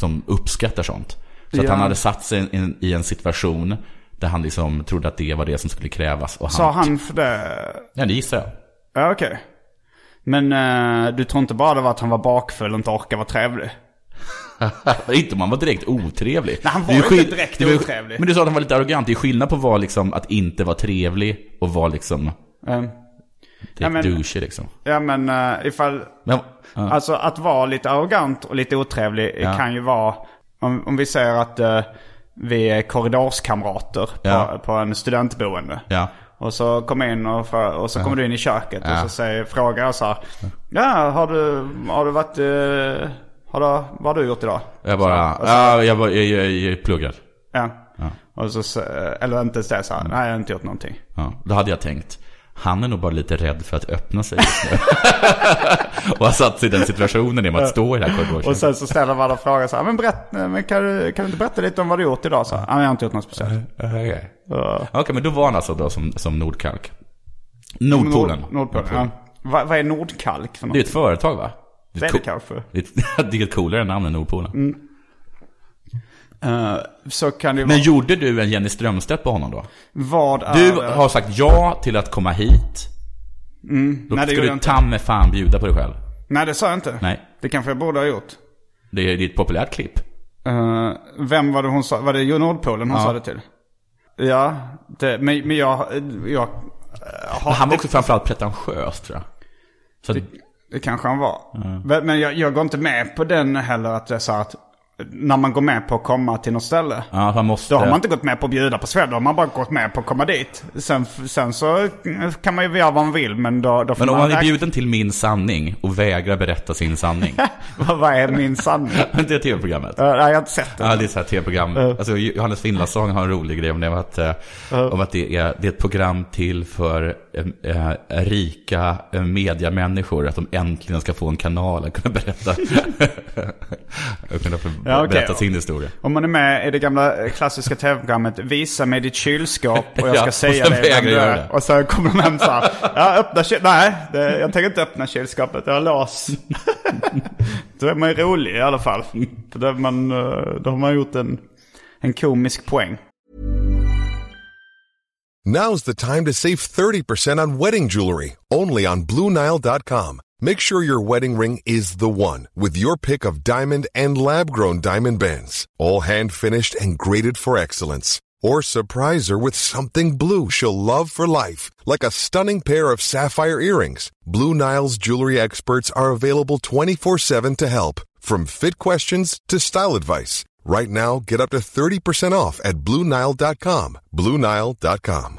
B: som uppskattar sånt. Så att
A: Ja.
B: han hade satt sig i en, i en situation Där han liksom trodde att det var det som skulle krävas. Och han,
A: Sa han för det?
B: Ja, det gissar jag.
A: Ja, okej. Men eh, du tror inte bara det var att han var bakfull och inte orkade vara trevlig?
B: inte om han var direkt otrevlig.
A: Nej, han
B: Det är ju
A: var ju inte
B: skill-
A: direkt
B: det var ju-
A: otrevlig.
B: Men du sa att han var lite arrogant. Det är skillnad på att vara liksom, att inte vara trevlig och vara liksom
A: Ehm,
B: direkt
A: Ja, men-
B: douchey liksom.
A: ja, men eh, ifall...
B: Men, ja.
A: Alltså att vara lite arrogant och lite otrevlig
B: Ja.
A: kan ju vara... Om, om vi säger att eh, vi är korridorskamrater på,
B: Ja.
A: på en studentboende.
B: ja.
A: Och så kommer jag in och, frå- och så kommer du in i köket och så säger, frågar jag så här. Ja, har du, har du varit... eh, har du, vad har du gjort idag?
B: Jag bara,
A: Alltså-
B: ja, jag, bara jag, jag, jag pluggar.
A: Ja. Och så, sä- eller inte ens det så här. Nej, jag har inte gjort någonting.
B: Ja, då hade jag tänkt, han är nog bara lite rädd för att öppna sig just nu. och har satt sig i den situationen genom att stå i det här
A: Och
B: korridoren.
A: sen så ställer man och frågar så här. Men, berätt, men kan, du, kan du inte berätta lite om vad du gjort idag? Så här, Nej, jag har inte gjort något speciellt.
B: Okej, Okej, men då var han alltså då som, som Nordkalk. Nordpolen.
A: Nord, Nordpolen. Ja. Vad, vad är Nordkalk för något?
B: Det är ett företag va?
A: Det är
B: ett
A: det
B: co-
A: kanske.
B: Det är ett- det är ett coolare namn än Nordpolen.
A: Eh, så kan det ju
B: Men
A: vara.
B: gjorde du en Jenny Strömstedt på honom då?
A: Vad är
B: Du
A: det?
B: har sagt ja till att komma hit. Då
A: Mm, Nej, det
B: ska
A: gjorde jag
B: du
A: inte.
B: ta med fan bjuda på dig själv.
A: Nej, det sa jag inte.
B: Nej.
A: Det kanske jag borde ha gjort.
B: Det är det är ett populärt klipp.
A: Eh, vem var det hon sa? Var det Jo Nordpolen hon sa det till? Ja, det, men, men jag... jag eh, har,
B: Men han var också framförallt pretentiös tror jag. Så att,
A: Det kanske han var. Men- Men jag, jag går inte med på den heller att det är så här att när man går med på att komma till något ställe.
B: ja, han måste...
A: Då har man inte gått med på att bjuda på sved, då har man bara gått med på att komma dit. Sen, sen så kan man ju göra vad man vill, men då, då får
B: Men om
A: man...
B: han är bjuden till Min sanning och vägrar berätta sin sanning.
A: vad, vad är min sanning? Eh,
B: det är tv-programmet.
A: Nej, jag har inte sett det.
B: Ja, det är så här tv-program. Alltså, Johannes Finlandsson har en rolig grej om det. Att, eh, Om att det är, det är ett program till för eh, eh, rika eh, mediamänniskor. Att de äntligen ska få en kanal att kunna berätta, att kunna få
A: Ja, okej.
B: berätta sin historia.
A: Om man är med i det gamla eh, klassiska tv-programmet Visa mig ditt kylskåp och jag
B: Ja,
A: ska
B: och
A: säga
B: sen
A: dig vem
B: vägrar
A: du är.
B: göra det.
A: Och sen kommer de hem så här. Ja, öppna kyl... Nej, det, jag tänker inte öppna kylskåpet. Jag har lås. då är man ju rolig i alla fall. För då, är man, eh, då har man gjort en, en komisk poäng.
C: Now's the time to save 30% on wedding jewelry, only on BlueNile.com. Make sure your wedding ring is the one with your pick of diamond and lab grown diamond bands, all hand finished and graded for excellence. Or surprise her with something blue she'll love for life, like a stunning pair of sapphire earrings. Blue Nile's jewelry experts are available 24 7 to help, from fit questions to style advice. Right now, get up to 30% off at BlueNile.com. BlueNile.com.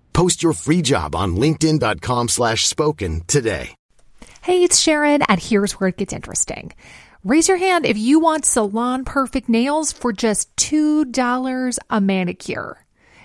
D: Post your free job on linkedin.com/spoken slash spoken today.
E: Hey, it's Sharon, and here's where it gets interesting. Raise your hand if you want salon perfect nails for just $2 a manicure.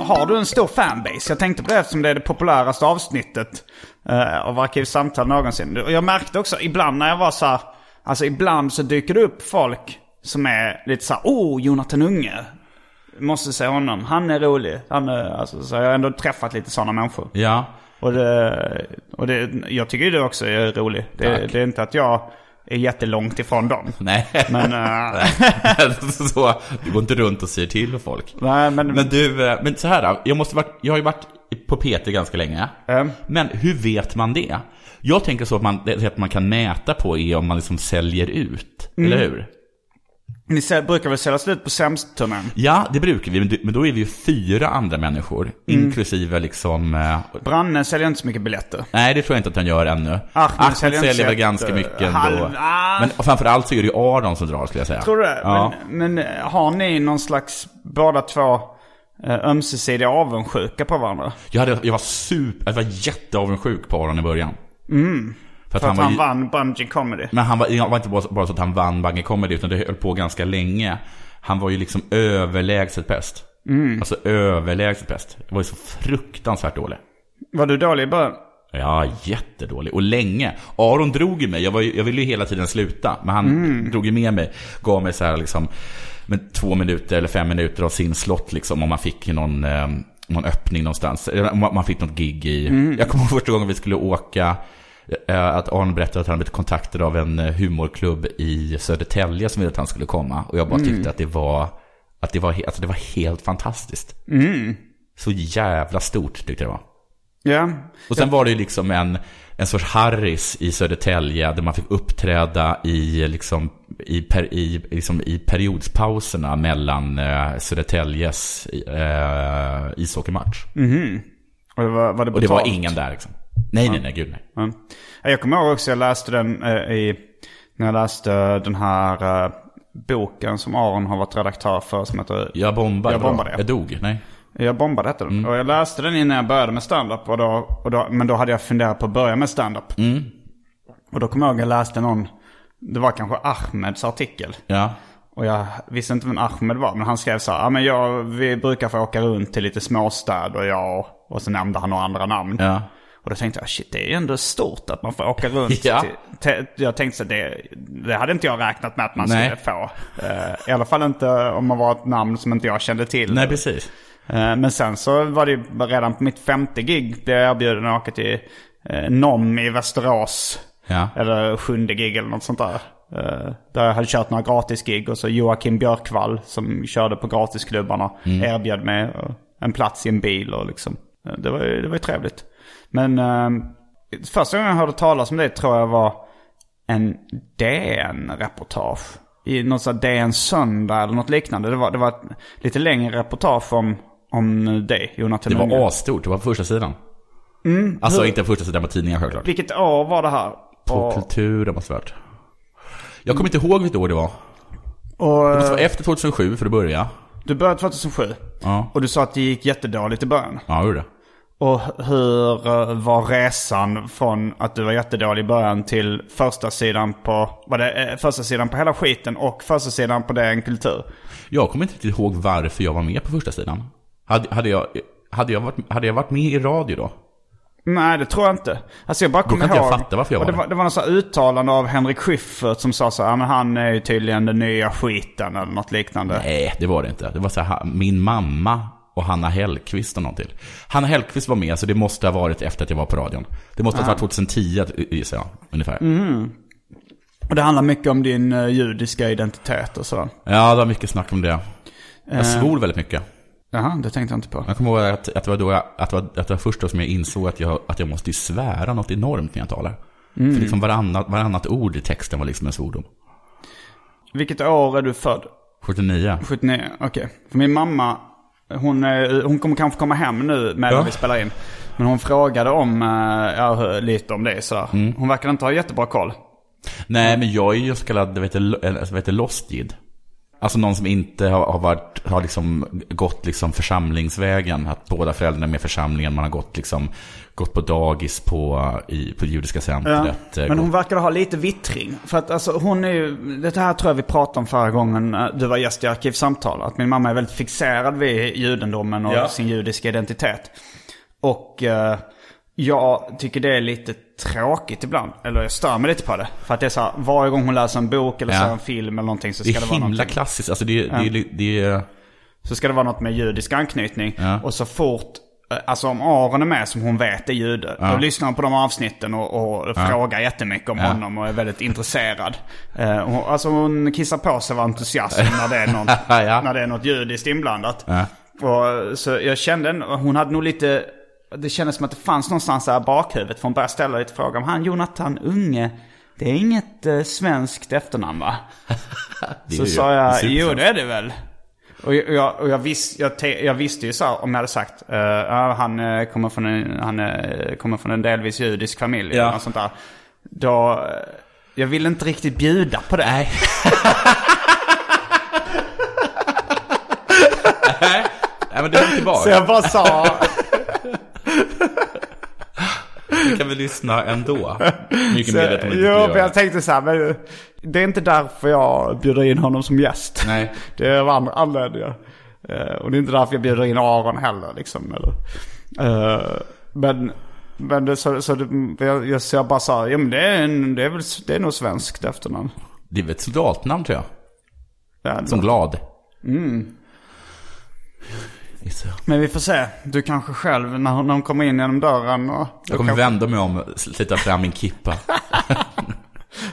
A: Har du en stor fanbase? Jag tänkte på det eftersom det är det populäraste avsnittet eh, av Arkivsamtal någonsin. Och jag märkte också ibland när jag var så här, alltså ibland så dyker det upp folk som är lite så här, oh, Jonathan Unge. Måste säga honom, han är rolig. Han är, alltså, så jag har ändå träffat lite sådana människor.
B: Ja,
A: Och, det, och det, jag tycker ju det också är roligt. Det,
B: Tack.
A: det är inte att jag är jättelångt ifrån dem.
B: nej.
A: Men, eh,
B: så, du går inte runt och säger till folk.
A: nej, men,
B: Men du, eh, men så här då. jag, måste varit, jag har ju varit på PT ganska länge.
A: Ehm.
B: Men hur vet man det?
A: Mm.
B: Jag tänker så att man, det sätt man kan mäta på är om man liksom säljer ut, eller hur?
A: Ni sä- brukar väl sälja slut på sämst-turnén?
B: Ja, det brukar vi, men du- men då är vi ju fyra andra människor.
A: Mm.
B: Inklusive liksom... eh,
A: Branne säljer inte så mycket biljetter.
B: Nej, det tror jag inte att han gör ännu.
A: Ahmed
B: Ahmed
A: Ah, säljer
B: säljer väl
A: inte
B: ganska
A: sett,
B: mycket
A: eh,
B: ändå.
A: halv- ah.
B: Men och framförallt så är det ju Aron som drar, skulle jag säga.
A: Tror du det?
B: Ja.
A: Men, men har ni någon slags båda två eh, ömsesidiga avundsjuka på varandra?
B: Jag, hade, jag var super... Jag var jätteavundsjuk på Aron i början. För att,
A: Mm. För
B: han
A: att
B: var...
A: han vann
B: ju-
A: Bungee Comedy.
B: Men han var, det var inte bara, bara så att han vann Bangor Comedy, utan det höll på ganska länge. Han var ju liksom överlägset bäst. Alltså överlägset bäst. Jag var ju så fruktansvärt dålig.
A: Var du dålig i början?
B: Ja, jättedålig. Och länge. Aron drog ju mig. Jag, var ju, jag ville ju hela tiden sluta. Men han drog ju med mig. Gav mig så här liksom, med två minuter eller fem minuter av sin slott liksom. Om man fick någon, eh, någon öppning någonstans. Eller Om man man fick något gig i. Jag kommer ihåg första gången vi skulle åka. eh, Att Aron berättade att han hade blivit kontaktad av en eh, humorklubb i Södertälje som ville att han skulle komma. Och jag bara tyckte att det var, att det var, he- alltså det var helt fantastiskt. Så jävla stort tyckte jag det var.
A: Ja.
B: Och sen var det ju liksom en, en sorts Harris i Södertälje där man fick uppträda i, liksom, i, per, i, liksom, i periodspauserna mellan eh, Södertäljes eh, ishockeymatch.
A: Mm, Och det var, var det
B: Och det var
A: betalt?
B: ingen där liksom. Nej, nej, nej, gud nej.
A: Ja. Ja, Jag kommer ihåg också, jag läste den eh, i... När jag läste den här eh, boken som Aron har varit redaktör för som heter...
B: Jag bombade.
A: Jag bombade, ja.
B: Jag dog, nej.
A: Jag bombade hette
B: Mm.
A: den. Och jag läste den innan jag började med standup. Och då, och då, men då hade jag funderat på att börja med standup.
B: Mm.
A: Och då kommer jag ihåg jag läste någon... Det var kanske Ahmeds artikel.
B: Ja.
A: Och jag visste inte vem Ahmed var. Men han skrev så här. "Ja, men jag, vi brukar få åka runt till lite småstäder. Och jag... Och så nämnde han några andra namn.
B: Ja.
A: Och då tänkte jag, shit det är ju ändå stort att man får åka runt.
B: Ja.
A: till, till, jag tänkte så här, det, det hade inte jag räknat med att man
B: Nej.
A: skulle få. Eh, I alla fall inte om man var ett namn som inte jag kände till.
B: Nej, precis.
A: Eh, Men sen så var det ju redan på mitt femte gig blev jag erbjuden att åka till eh, NOM i Västerås.
B: Ja.
A: Eller sjunde gig eller något sånt där. Eh, där jag hade kört några gratisgig och så Joakim Björkvall som körde på gratisklubbarna erbjöd mig eh, en plats i en bil och liksom. eh, Det var ju, det var ju trevligt. Men eh, första gången jag hörde talas om det tror jag var en DN-reportage. I något sånt här DN Söndag eller något liknande. Det var, det var ett lite längre reportage om, om dig, Jonathan
B: Det
A: Unge.
B: var asstort. Det var på första sidan.
A: Mm.
B: alltså inte första sidan på tidningen självklart.
A: Vilket år var det här?
B: På kulturen måste det ha varit. Jag kommer inte ihåg vilket år det var.
A: Och,
B: Det
A: eh,
B: måste vara efter 2007 för att börja.
A: du började 2007.
B: Ja.
A: Och du sa att det gick jättedåligt i början.
B: Ja, jag gjorde det.
A: Och hur eh, var resan från att du var jättedålig i början till första sidan på... Var det eh, första sidan på hela skiten och första sidan på DN Kultur?
B: Jag kommer inte riktigt ihåg varför jag var med på första sidan. Hade, hade, jag, hade, jag, varit, hade jag varit med i radio då?
A: Nej, det tror jag inte. Alltså jag bara kommer
B: kan
A: ihåg.
B: inte jag fatta varför jag
A: och
B: var
A: det
B: där.
A: var, det var något så här uttalande av Henrik Schyffert som sa så här, "Ja, men han är ju tydligen den nya skiten eller något liknande.
B: Nej, det var det inte. Det var så här, min mamma och Hanna Hellqvist och någon till. Hanna Hellqvist var med, så det måste ha varit efter att jag var på radion. Det måste ha varit 2010, gissar jag, ungefär. Mm.
A: Och det handlar mycket om din eh, judiska identitet och så.
B: Ja, det var mycket snack om det.
A: Eh.
B: Jag svor väldigt mycket.
A: Jaha, det tänkte jag inte på.
B: Jag kommer ihåg att, att det var då jag, att det var, att det var först då som jag insåg att jag, att jag måste ju svära något enormt när jag talar.
A: Mm.
B: För liksom varannat, varannat ord i texten var liksom en svordom.
A: Vilket år är du född?
B: 79.
A: 79, okej. För min mamma, hon, är- hon kommer kanske komma hem nu medan
B: Ja.
A: vi spelar in. Men hon frågade om, eh, ja, hur- lite om det så. här.
B: Mm.
A: Hon verkar inte ha jättebra koll.
B: Nej, men jag är ju så kallad, vet du, alltså, vet du, lost jid. Alltså någon som inte har, har, varit, har liksom gått liksom församlingsvägen. Att båda föräldrarna är med i församlingen. Man har gått, liksom, gått på dagis på, i, på det judiska centret. eh,
A: Men hon
B: gått-
A: verkar ha lite vittring. För att alltså, hon är ju, det här tror jag vi pratade om förra gången eh, du var gäst i Arkivsamtal. Att min mamma är väldigt fixerad vid judendomen och
B: Ja.
A: sin judiska identitet. Och eh, jag tycker det är lite tråkigt ibland. Eller jag stör mig lite på det. För att det är så här, varje gång hon läser en bok eller
B: Ja.
A: ser en film eller någonting så
B: det
A: ska det,
B: är
A: vara
B: himla
A: någonting.
B: klassiskt. Alltså det, är- det, är li- det, är-
A: Så ska det vara något med judisk anknytning. Och så fort, eh, alltså om Aron är med som hon vet är jude. Då lyssnar hon på de avsnitten och, och frågar jättemycket om honom och är väldigt intresserad. Eh, hon, alltså hon kissar på sig av entusiasm när det är, någon,
B: Ja.
A: när det är något judiskt inblandat. Och, eh, så jag kände, en- hon hade nog lite, det kändes som att det fanns någonstans där i bakhuvudet. För hon började ställa lite frågor om han Jonathan Unge. Det är inget eh, svenskt efternamn va?
B: Det är
A: Så
B: ju-
A: sa
B: det
A: jag,
B: ser ut
A: jo
B: som-
A: det är det väl. Och jag, och jag, och jag, visst, jag, te, jag visste ju så här, om jag hade sagt, eh, ja, han, eh, kommer från en, han eh, kommer från en delvis judisk familj
B: Ja.
A: eller något sånt där. Då, eh, jag ville inte riktigt bjuda på det. Nej.
B: Nej, men det var inte
A: Så
B: bara.
A: jag bara sa,
B: Vi kan väl lyssna ändå. Mycket medveten om att vi
A: eh, jo,
B: inte
A: men
B: gör
A: jag
B: det.
A: tänkte så här, men det är inte därför jag bjuder in honom som gäst.
B: Nej.
A: Det är av andra anledningar. Eh, Och det är inte därför jag bjuder in Aron heller. Liksom, eller. Eh, Men, men det, så, så det, jag, jag, så jag bara sa, ja men det är, en, det är, väl, det är nog svenskt efternamn.
B: Det är väl ett soldatnamn tror jag.
A: Ja, det-
B: Som glad.
A: Mm.
B: Gissar jag.
A: Men vi får se. Du kanske själv, när hon, när hon kommer in genom dörren. Och,
B: Jag kommer vända mig om och slita fram min kippa.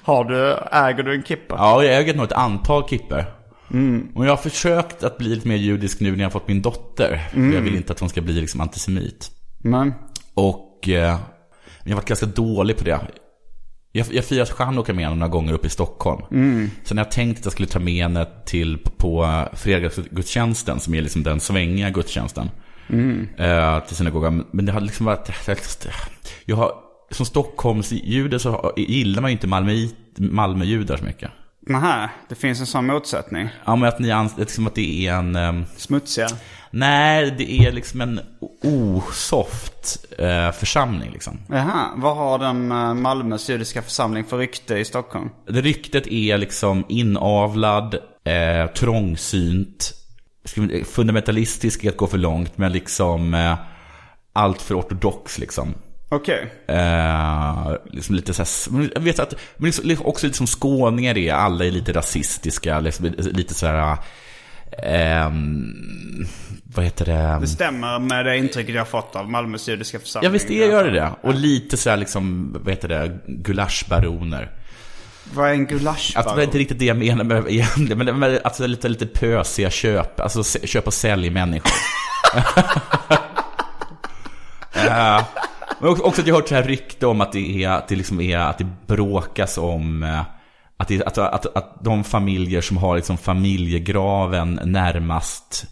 A: har du, äger du en kippa?
B: Ja, jag äger nog ett antal kippor.
A: Mm.
B: Och jag har försökt att bli lite mer judisk nu när jag har fått min dotter.
A: Mm.
B: För jag vill inte att hon ska bli liksom antisemit.
A: Men,
B: Och eh, jag har varit ganska dålig på det. Jag, jag firar stjärnåker med henne några gånger uppe i Stockholm. Sen har jag tänkt att jag skulle ta med henne till på, på fredagsgudstjänsten, som är liksom den svängiga gudstjänsten. Eh, till synagogan. Men det har liksom varit... Jag har, som Stockholmsjude så har- gillar man ju inte Malmö, Malmöjudar så mycket.
A: nähä, det finns en sån motsättning.
B: Ja, men att ni ans- liksom att det är en... ehm,
A: Smutsiga.
B: nej, det är liksom en osoft eh, församling liksom.
A: Jaha, vad har den eh, Malmös judiska församling för rykte i Stockholm?
B: Det ryktet är liksom inavlad, eh, trångsynt, ska vi- fundamentalistisk är att gå för långt, men liksom eh, allt för ortodox liksom.
A: Okej.
B: Eh, liksom lite så här, men jag vet att, men liksom, liksom också lite som skåningar är, alla är lite rasistiska, liksom, lite så här, ehm, vad heter det?
A: Det stämmer med det intrycket jag fått av Malmös judiska församling.
B: Ja visst är gör det det. Och lite så här liksom, vad heter det, gulaschbaroner.
A: Vad är en gulasch?
B: Alltså, det är inte riktigt det jag menar med egentligen, men, men alltså, lite, lite pösiga köp, alltså se- köp och sälj människor. Eh, men också, också att jag har hört så här rykte om att det, är, att det liksom är, att det bråkas om eh, att, det, att, att, att de familjer som har liksom familjegraven närmast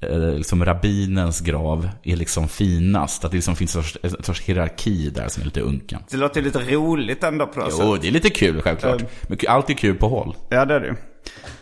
B: eh, liksom rabbinens grav är liksom finast. Att det liksom finns en sorts, en sorts hierarki där som är lite unken.
A: Det låter lite roligt ändå på något
B: Jo,
A: sätt.
B: det är lite kul självklart. Men allt är kul på håll.
A: Ja, det är det ju.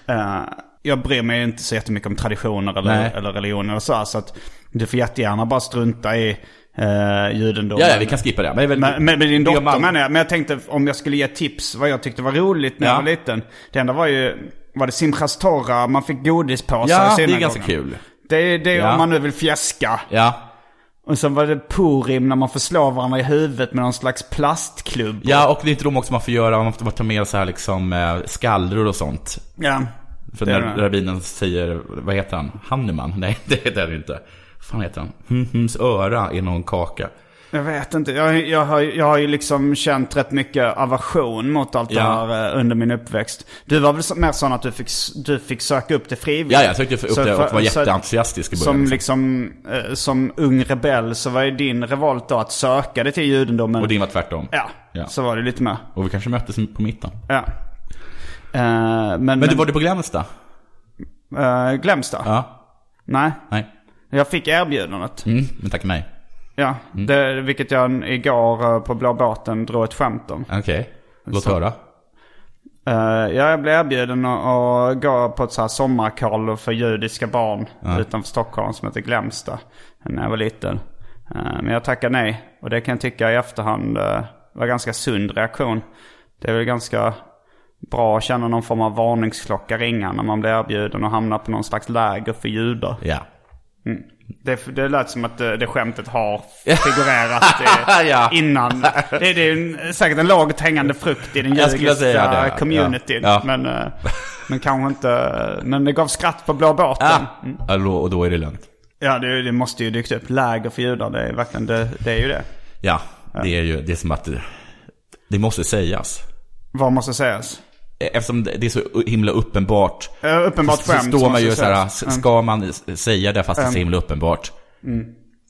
A: Eh, Jag bryr mig inte så jättemycket om traditioner eller,
B: Nej.
A: eller religioner och så. här, Så att du får jättegärna bara strunta i uh, judendomen.
B: Ja, ja, vi kan skippa det. Men, det är väl-
A: Men, men med din
B: det är
A: dotter
B: man-
A: menar jag. Men jag tänkte om jag skulle ge tips vad jag tyckte var roligt när
B: Ja.
A: jag var liten. Det enda var ju, var det Simchas Torah man fick godispåsar i
B: Ja, det är
A: synagogan.
B: ganska kul.
A: Det är det är
B: Ja.
A: om man nu vill fjäska.
B: Ja,
A: Och sen var det Purim när man får slå varandra i huvudet med någon slags plastklubb.
B: ja och det är inte de också man får göra, man får ta med så här liksom eh, skallror och sånt.
A: Ja.
B: För
A: Det är
B: när
A: det.
B: rabbinen säger, vad heter han? Hanneman? Nej, det heter han inte. Vad fan heter han? Hums öra är någon kaka.
A: Jag vet inte. Jag, jag, har, jag har ju liksom känt rätt mycket aversion mot allt det
B: Ja.
A: här eh, under min uppväxt. Du var väl så- mer sån att du fick, s- du fick söka upp det frivilligt?
B: Ja, jag sökte upp
A: Så
B: det och
A: för-
B: var
A: så-
B: jätteentusiastisk i början.
A: Som
B: liksom.
A: liksom, eh, som ung rebell så var ju din revolt då att söka det till judendomen.
B: Och din var tvärtom.
A: ja,
B: Ja.
A: så var det lite mer.
B: Och vi kanske möttes på mitten.
A: Ja. Eh, men
B: Men du, var du på Glänsta?
A: eh, Glämsta?
B: Ja.
A: Nej,
B: Nej.
A: jag fick erbjudandet.
B: Mm, men tack nej.
A: Ja,
B: Mm.
A: det, vilket jag igår eh, på Blå båten drog ett skämt om.
B: Okej. Låt höra.
A: Eh, ja, jag blev erbjuden att att gå på ett så här sommarkollo för judiska barn utanför Stockholm som heter Glämsta. När jag var liten. Eh, men jag tackade nej. Och det kan jag tycka i efterhand eh, var ganska sund reaktion. Det är väl ganska bra att känna någon form av varningsklocka ringa när man blir erbjuden och hamnar på någon slags läger för judar. Mm.
B: Ja.
A: Det, det lät som att eh, det, det skämtet har figurerat eh,
B: Ah, Ja.
A: innan. Det, är- det är en, säkert en lågt hängande frukt i den
B: Jag skulle säga det,
A: judiska
B: ja.
A: communityn.
B: Ja.
A: Men, eh, men kanske inte... Men det gav skratt på blå båten. Mm.
B: Ah. Hallå, och då är det lugnt.
A: Ja, det, det måste ju dykt upp. Läger för judar, det är, verkligen, det, det är ju det.
B: Ja, det är ju, det är som att det, det måste sägas.
A: Vad måste sägas?
B: Eftersom det det är så himla uppenbart.
A: Ja, uppenbart
B: så,
A: skämt
B: Så står man
A: måste
B: ju så här,
A: sägas.
B: s- ska man s-
A: Mm.
B: säga det fast det är så himla uppenbart?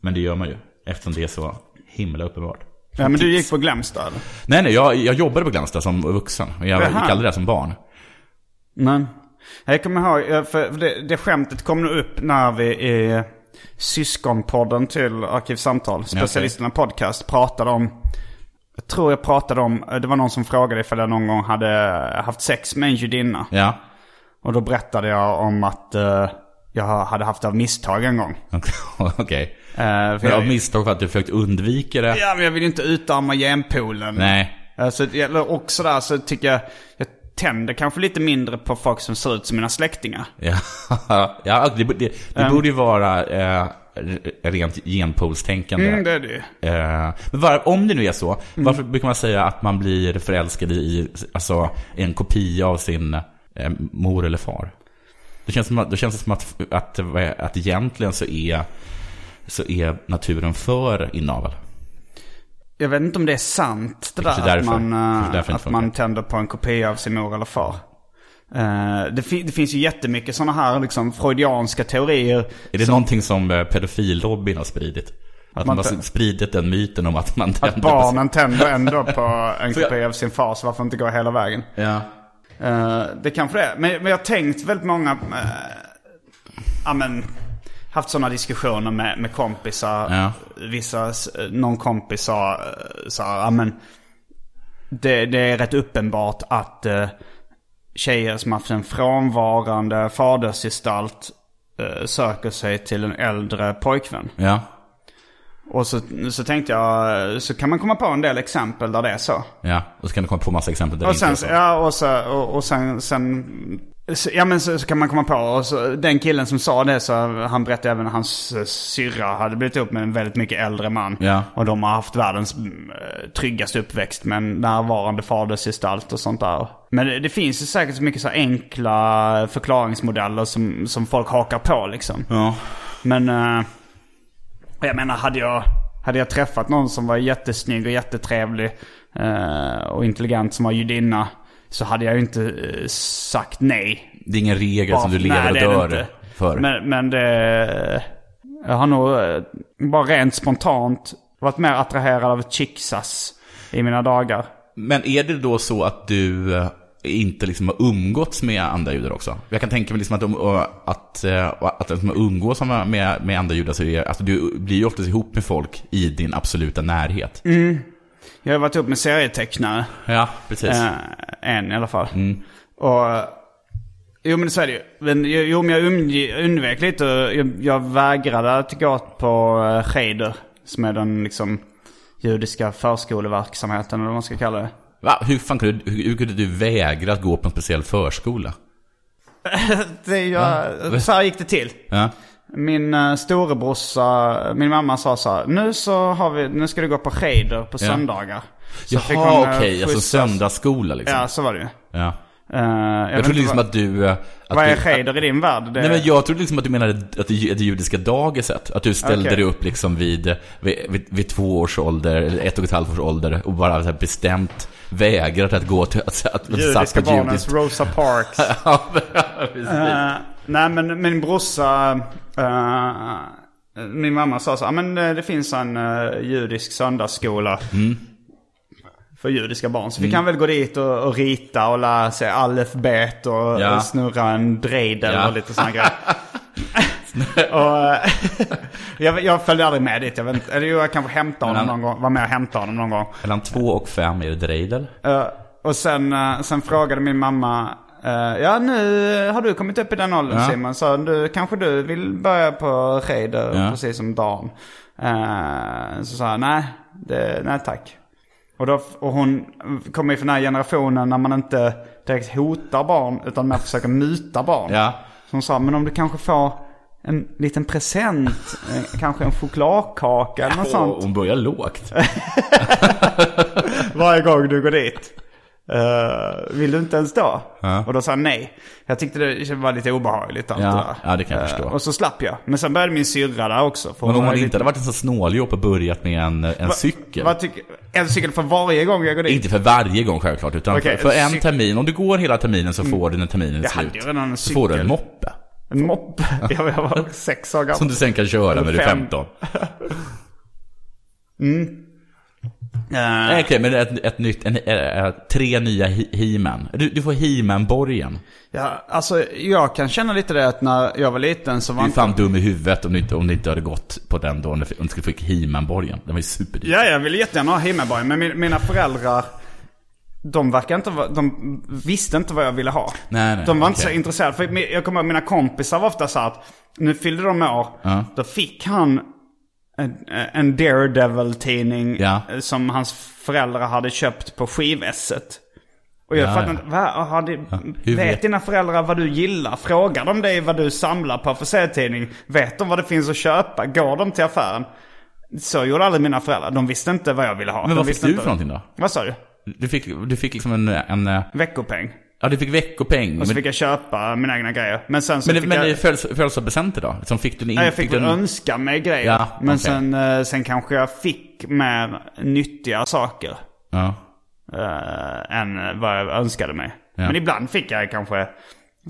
B: Men det gör man ju, eftersom det är så himla uppenbart.
A: Ja, men du gick på Glamstad? eller?
B: Nej, nej, jag, jag jobbade på Glansta som vuxen. Jag gick
A: Jaha.
B: aldrig där som barn.
A: Nej. Jag kommer ihåg, eh, för det, det skämtet kom nog upp när vi i syskonpodden till Arkivsamtal, specialisterna podcast, pratade om, jag tror jag pratade om, eh, det var någon som frågade ifall jag någon gång hade haft sex med en judinna.
B: Ja.
A: Och då berättade jag om att eh, jag hade haft det av misstag en gång.
B: Okej.
A: Eh, för
B: Men av
A: jag,
B: misstag för att du försökt undvika det?
A: ja, men jag vill ju inte utarma genpoolen.
B: Nej.
A: Alltså, eller också där så tycker jag, jag tänder kanske lite mindre på folk som ser ut som mina släktingar.
B: Ja, ja alltså, det, det, det borde ju vara eh, re- rent genpoolstänkande.
A: Mm, det är det ju.
B: Eh, men var, om det nu är så, varför brukar man säga att man blir förälskad i alltså, en kopia av sin eh, mor eller far? Det känns som att, det känns som att, att, att, att egentligen så är, så är naturen för inavel.
A: Jag vet inte om det är sant det
B: Det är
A: där
B: kanske
A: att
B: därför.
A: man,
B: Kanske
A: eh,
B: därför det
A: att
B: inte
A: man
B: funkar.
A: tänder på en kopia av sin mor eller far. Eh, det, fi- det finns ju jättemycket sådana här liksom freudianska teorier.
B: Är det någonting som eh, pedofillobbyn har spridit? Att man,
A: Man tä-
B: har spridit den myten om att man tänder
A: Att
B: på sin-
A: barnen tänder ändå på en
B: Får jag-
A: kopia av sin far, så varför inte gå hela vägen?
B: Ja.
A: Eh, det kanske det är. Men, men jag har tänkt väldigt många... eh, ja, men, haft sådana diskussioner med, med kompisar.
B: Ja.
A: Vissa, s- någon kompis sa eh, så här, ja, men det, det är rätt uppenbart att eh, tjejer som haft en frånvarande fadersgestalt eh, söker sig till en äldre pojkvän.
B: Ja.
A: Och så, så tänkte jag, eh, så kan man komma på en del exempel där det är så.
B: Ja, och så kan du komma på massa exempel där
A: Och
B: det inte är
A: sen,
B: så.
A: ja, och, så, och, och sen, sen så- ja men så, så kan man komma på, och så, den killen som sa det så han berättade även att hans eh, syrra hade blivit ihop med en väldigt mycket äldre man.
B: Ja.
A: Och de har haft världens mm, eh, tryggaste uppväxt med en närvarande fadersgestalt och sånt där. Men det, det finns ju säkert så mycket så här enkla förklaringsmodeller som, som folk hakar på liksom.
B: Ja.
A: Men eh, jag menar, hade jag, hade jag träffat någon som var jättesnygg och jättetrevlig eh, och intelligent som var judinna så hade jag ju inte eh, sagt nej.
B: Det är ingen regel
A: Bara-
B: som du
A: nej,
B: lever
A: det är det
B: och dör
A: inte.
B: för.
A: Men, men det... Jag har nog eh, bara rent spontant varit mer attraherad av chicksas i mina dagar.
B: Men är det då så att du eh, inte liksom har umgåtts med andra judar också? Jag kan tänka mig liksom att, de, och att, eh, och att liksom umgås med, med, med andra judar, så är, alltså du blir ju oftast ihop med folk i din absoluta närhet.
A: Mm. Jag har varit upp med serietecknare.
B: Ja, precis.
A: Eh, en i alla fall.
B: Mm.
A: Och, jo men så är det ju. Men, jo jo, men jag umge- undvek lite. Jag, jag vägrade att gå på eh, Scheider. Som är den liksom judiska förskoleverksamheten eller vad man ska kalla det.
B: Va? Hur fan kunde, hur, hur kunde du vägra att gå på en speciell förskola?
A: det jag, så här gick det till.
B: Ja.
A: Min uh, storebrorsa, min mamma sa så här. Nu så har vi, nu ska du gå på Scheider på söndagar. Så fick
B: Jaha,
A: hon, eh,
B: okej. Alltså
A: skjutsas-
B: söndagsskola liksom.
A: Ja, så var det ju.
B: Ja.
A: Eh, jag
B: Jag
A: vet
B: trodde
A: inte
B: liksom
A: vad,
B: att du... eh, Att
A: vad är
B: du-
A: Scheider i din värld? Det,
B: Nej, men jag trodde liksom att du menade att det, att det judiska dagiset. Att du ställde
A: Okej.
B: dig upp liksom vid, vid, vid, vid två års ålder, eller ett och ett halvt års ålder, och bara så här bestämt vägrat att gå till att, att, att
A: Judiska
B: satsa på
A: barnens
B: judiskt.
A: Rosa Parks.
B: Ja, precis.
A: Eh, nej men min brorsa, eh, min mamma sa så här, "Ah, men eh, det finns en eh, judisk söndagsskola.
B: Mm.
A: För judiska barn. Så vi kan väl gå dit och, och rita och lära sig alfabet och
B: Ja.
A: och snurra en drejdel
B: Ja.
A: och lite sådana grejer. och, eh, jag, jag följde aldrig med dit. Jag vet inte, eller jo, jag kanske hämtade honom
B: han-
A: någon gång. Var med och hämtade honom någon gång.
B: Mellan två och fem är det drejdel.
A: Eh, och sen, eh, sen frågade min mamma, eh, ja nu har du kommit upp i den åldern
B: Ja.
A: Simon, så du, kanske du vill börja på Reider
B: Ja.
A: precis som Dan. Eh, så sa jag, nej, det, nej tack. Och, då, och hon kommer ju från den här generationen när man inte direkt hotar barn utan man försöker muta barn.
B: Ja.
A: Så hon sa, men om du kanske får en liten present, eh, kanske en chokladkaka eller något sånt.
B: Och hon börjar lågt.
A: Varje gång du går dit. Eh, vill du inte ens då?
B: Ja.
A: Och då sa han nej. Jag tyckte det var lite obehagligt. allt
B: Ja,
A: där.
B: ja, det kan jag
A: Eh,
B: förstå.
A: Och så slapp jag. Men sen började min syrra där också. för
B: Men om
A: var
B: hon
A: lite-
B: inte hade varit en sån snåljåp och börjat med en, en cykel.
A: Vad tycker- en cykel för varje gång jag går dit.
B: Inte för varje gång självklart, utan
A: Okej,
B: för en
A: cykel. Mm.
B: termin. Om du går hela terminen så får du när terminen är
A: Jag hade
B: slut.
A: ju redan en
B: så får du en
A: cykel.
B: moppe.
A: En moppe. Jag jag var sex år gammal.
B: Som du sen kan köra när du är
A: Fem.
B: 15.
A: Eh,
B: Nej, Okej, men ett, ett nytt, en, eh, eh, tre nya He- He-Man. Du, du får He-Man-borgen.
A: Ja, alltså jag kan känna lite det att när jag var liten så
B: Du
A: var
B: är
A: inte...
B: fan dum i huvudet om du inte, om du inte hade gått på den då, om du om du skulle fick He-Man-borgen. Den var ju superdyr.
A: Ja, jag ville jättegärna ha Himmelborg, men min, mina föräldrar... De verkar inte va- De visste inte vad jag ville ha.
B: Nej, nej,
A: de var inte
B: okej.
A: så intresserade. För mi- jag kommer ihåg mina kompisar var ofta så att... Nu fyllde de år.
B: Ja.
A: Då fick han en, en Daredevil-tidning
B: Ja.
A: eh, som hans föräldrar hade köpt på skivesset. Och jag
B: Ja,
A: fattar
B: ja.
A: inte. Va, aha, det,
B: hur
A: vet,
B: vet-
A: dina föräldrar vad du gillar? Frågar de dig vad du samlar på för serietidning? Vet de vad det finns att köpa? Går de till affären? Så gjorde aldrig mina föräldrar. De visste inte vad jag ville ha.
B: Men
A: de
B: vad fick
A: visste
B: du
A: inte-
B: för någonting då?
A: Vad sa du?
B: Du fick, du fick liksom en, en... eh,
A: Veckopeng.
B: Ja, du fick veckopeng.
A: Och så
B: Men,
A: Alltså, fick jag köpa mina egna grejer. Men sen så
B: men, det-
A: fick
B: men
A: jag...
B: det är födels- födelsedagspresenter då? Som fick du en...
A: Nej, jag fick
B: du
A: väl
B: en-
A: önska mig grejer.
B: Ja,
A: men
B: okej.
A: sen, eh, sen kanske jag fick mer nyttiga saker.
B: Ja.
A: eh, än vad jag önskade mig. Men ibland fick jag kanske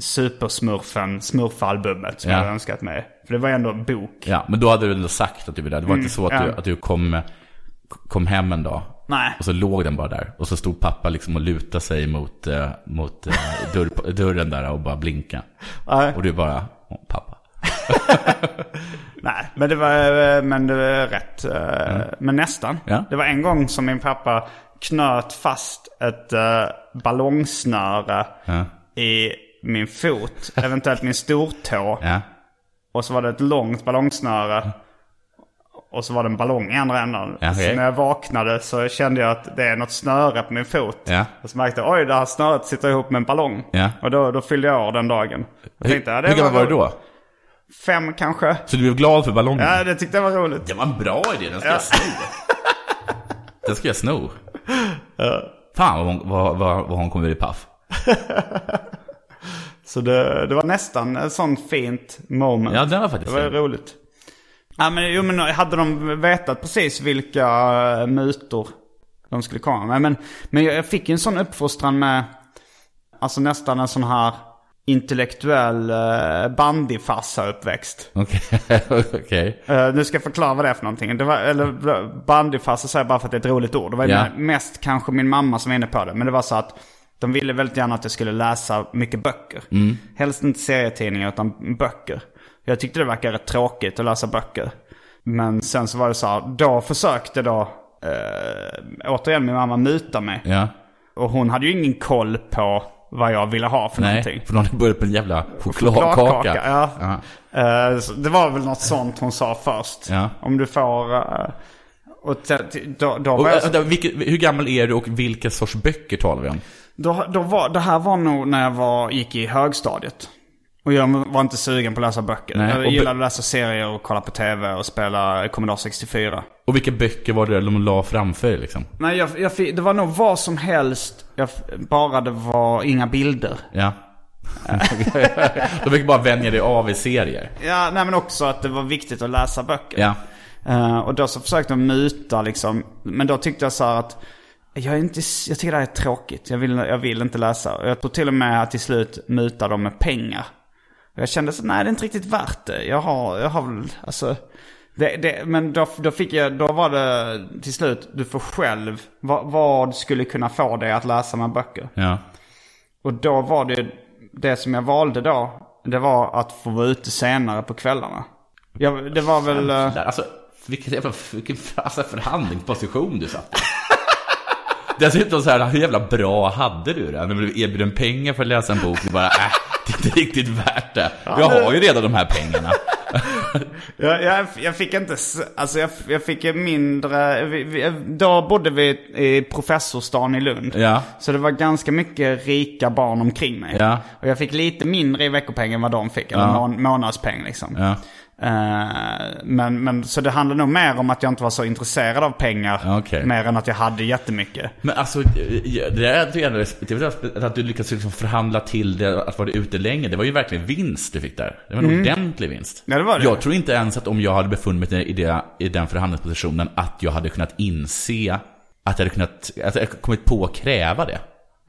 A: supersmurfen, smurfalbumet som
B: Ja.
A: jag hade önskat mig. För det var ju ändå en bok.
B: ja, men då hade du ändå sagt att du ville ha. Det var inte så att, du,
A: Mm, ja.
B: att du kom, kom hem en dag.
A: Nej.
B: Och så låg den bara där. Och så stod pappa liksom och lutade sig mot, eh, mot eh, dörr, dörren där och bara blinka.
A: Nej.
B: Och du bara, "Åh, pappa.
A: Nej, men det var, eh, men det var rätt. eh, Men nästan.
B: Mm. Ja.
A: Det var en gång som min pappa knöt fast ett eh, ballongsnöre i min fot, eventuellt min stortå.
B: Ja.
A: Och så var det ett långt ballongsnöre. Och så var det en ballong i andra änden.
B: Ja, okej.
A: Så när jag vaknade så kände jag att det är något snöre på min fot.
B: Ja.
A: Och så märkte jag oj det här snöret sitter ihop med en ballong.
B: Ja.
A: Och då, då fyllde jag år den dagen. Jag
B: Hur,
A: tänkte, ja, det
B: hur gammal var du då?
A: Fem kanske.
B: Så du blev glad för ballongen?
A: Ja, det tyckte jag var roligt.
B: Det var en bra idé, den ska jag sno. Den ska jag sno. Fan vad hon, vad, vad, vad hon kommer bli paff.
A: Så det, det var nästan ett sånt fint moment.
B: Ja, den var faktiskt
A: det var
B: fin.
A: roligt. Ja, men, jo, men hade de vetat precis vilka eh, mutor de skulle komma med. Men, men jag jag fick ju en sån uppfostran med, alltså nästan en sån här intellektuell eh, bandyfarsa-uppväxt.
B: Okej. Okej.
A: Eh, nu ska jag förklara vad det är för någonting. Det var, eller bandyfarsa säger jag bara för att det är ett roligt ord. Det var ju
B: Ja.
A: me- mest kanske min mamma som var inne på det. Men det var så att de ville väldigt gärna att jag skulle läsa mycket böcker.
B: Mm.
A: Helst inte serietidningar utan böcker. Jag tyckte det verkade rätt tråkigt att läsa böcker. Men sen så var det så här, då försökte då eh, återigen min mamma muta mig.
B: Ja.
A: Och hon hade ju ingen koll på vad jag ville ha för någonting.
B: Nej, för någon har börjat med en jävla chokladkaka.
A: Chokladkaka, ja.
B: Ja.
A: Eh, så Det var väl något sånt hon sa först.
B: Ja.
A: Om du får... eh, Och te- te- då, då,
B: Och,
A: var jag,
B: vänta, vilket, hur gammal är du och vilka sorts böcker talar vi om?
A: då, då var, det här var nog när jag var, gick i högstadiet. Och jag var inte sugen på att läsa böcker.
B: Nej, och
A: jag
B: bö-
A: gillade att läsa serier och kolla på tv och spela Commodore 64.
B: Och vilka böcker var det de la framför dig liksom?
A: Nej, jag, jag, fick- det var nog vad som helst. Jag, f- bara det var inga bilder.
B: Ja. de fick bara vänja dig av i serier.
A: Ja, nej men också att det var viktigt att läsa böcker.
B: Ja.
A: Eh, och då så försökte de muta liksom. Men då tyckte jag så här att jag, är inte, jag tycker det här är tråkigt. Jag vill, jag vill inte läsa. Och jag tror till och med att till slut muta dem med pengar. Och jag kände så nej det är inte riktigt värt det. Jag har, jag har väl, alltså. Det, det, men då, då fick jag, då var det till slut, du får själv, vad, vad skulle kunna få dig att läsa med böcker?
B: Ja.
A: Och då var det, det som jag valde då, det var att få vara ute senare på kvällarna. Jag, det var väl... eh,
B: Där, Alltså, vilken, jävla- vilken alltså, förhandlingsposition du satt i. Dessutom så här, hur jävla bra hade du det? När du blev erbjuden pengar för att läsa en bok, du bara, äh, det är inte riktigt värt det. Jag har ju redan de här pengarna.
A: Jag, jag, jag fick inte, s- alltså jag, jag fick ju mindre, vi, vi, då bodde vi i professorstan i Lund.
B: Ja.
A: Så det var ganska mycket rika barn omkring mig.
B: Ja.
A: Och jag fick lite mindre i veckopeng än vad de fick, eller mån, månadspeng liksom.
B: Ja.
A: Eh, men, men så det handlade nog mer om att jag inte var så intresserad av pengar.
B: Okej.
A: Mer än att jag hade jättemycket.
B: Men alltså, det där tycker jag ändå är respektive, att du lyckades liksom förhandla till det, att vara ute länge. Det var ju verkligen vinst du fick där. Det var en ordentlig vinst.
A: Mm. Ja, det var det.
B: Jag tror inte ens att om jag hade befunnit mig i, det, i den förhandlingspositionen, att jag hade kunnat inse att jag hade kunnat, att jag kommit på att kräva det.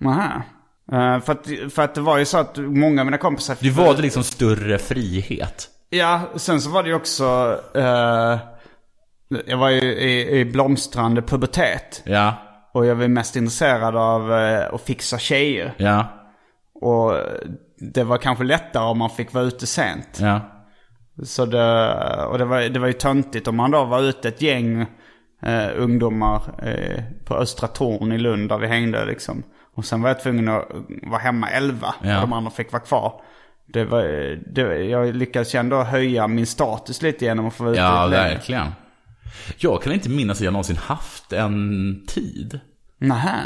A: Aha. Eh, för, att, för att det var ju så att många av mina kompisar...
B: Du valde liksom större frihet.
A: Ja, sen så var det ju också... eh, Jag var ju i, i blomstrande pubertet.
B: Ja,
A: Och jag var mest intresserad av eh, att fixa tjejer.
B: ja,
A: Och det var kanske lättare om man fick vara ute sent.
B: ja.
A: Så det, och det var, det var ju töntigt om man då var ute ett gäng eh, ungdomar eh, på Östra Torn i Lund där vi hängde liksom. Och sen var jag tvungen att vara hemma elva
B: Ja.
A: och de andra fick vara kvar. Det var, det, jag lyckades ju ändå höja min status lite genom att få vara ute
B: Ja,
A: lite längre.
B: verkligen. Jag kan inte minnas att jag någonsin haft en tid.
A: Nähä.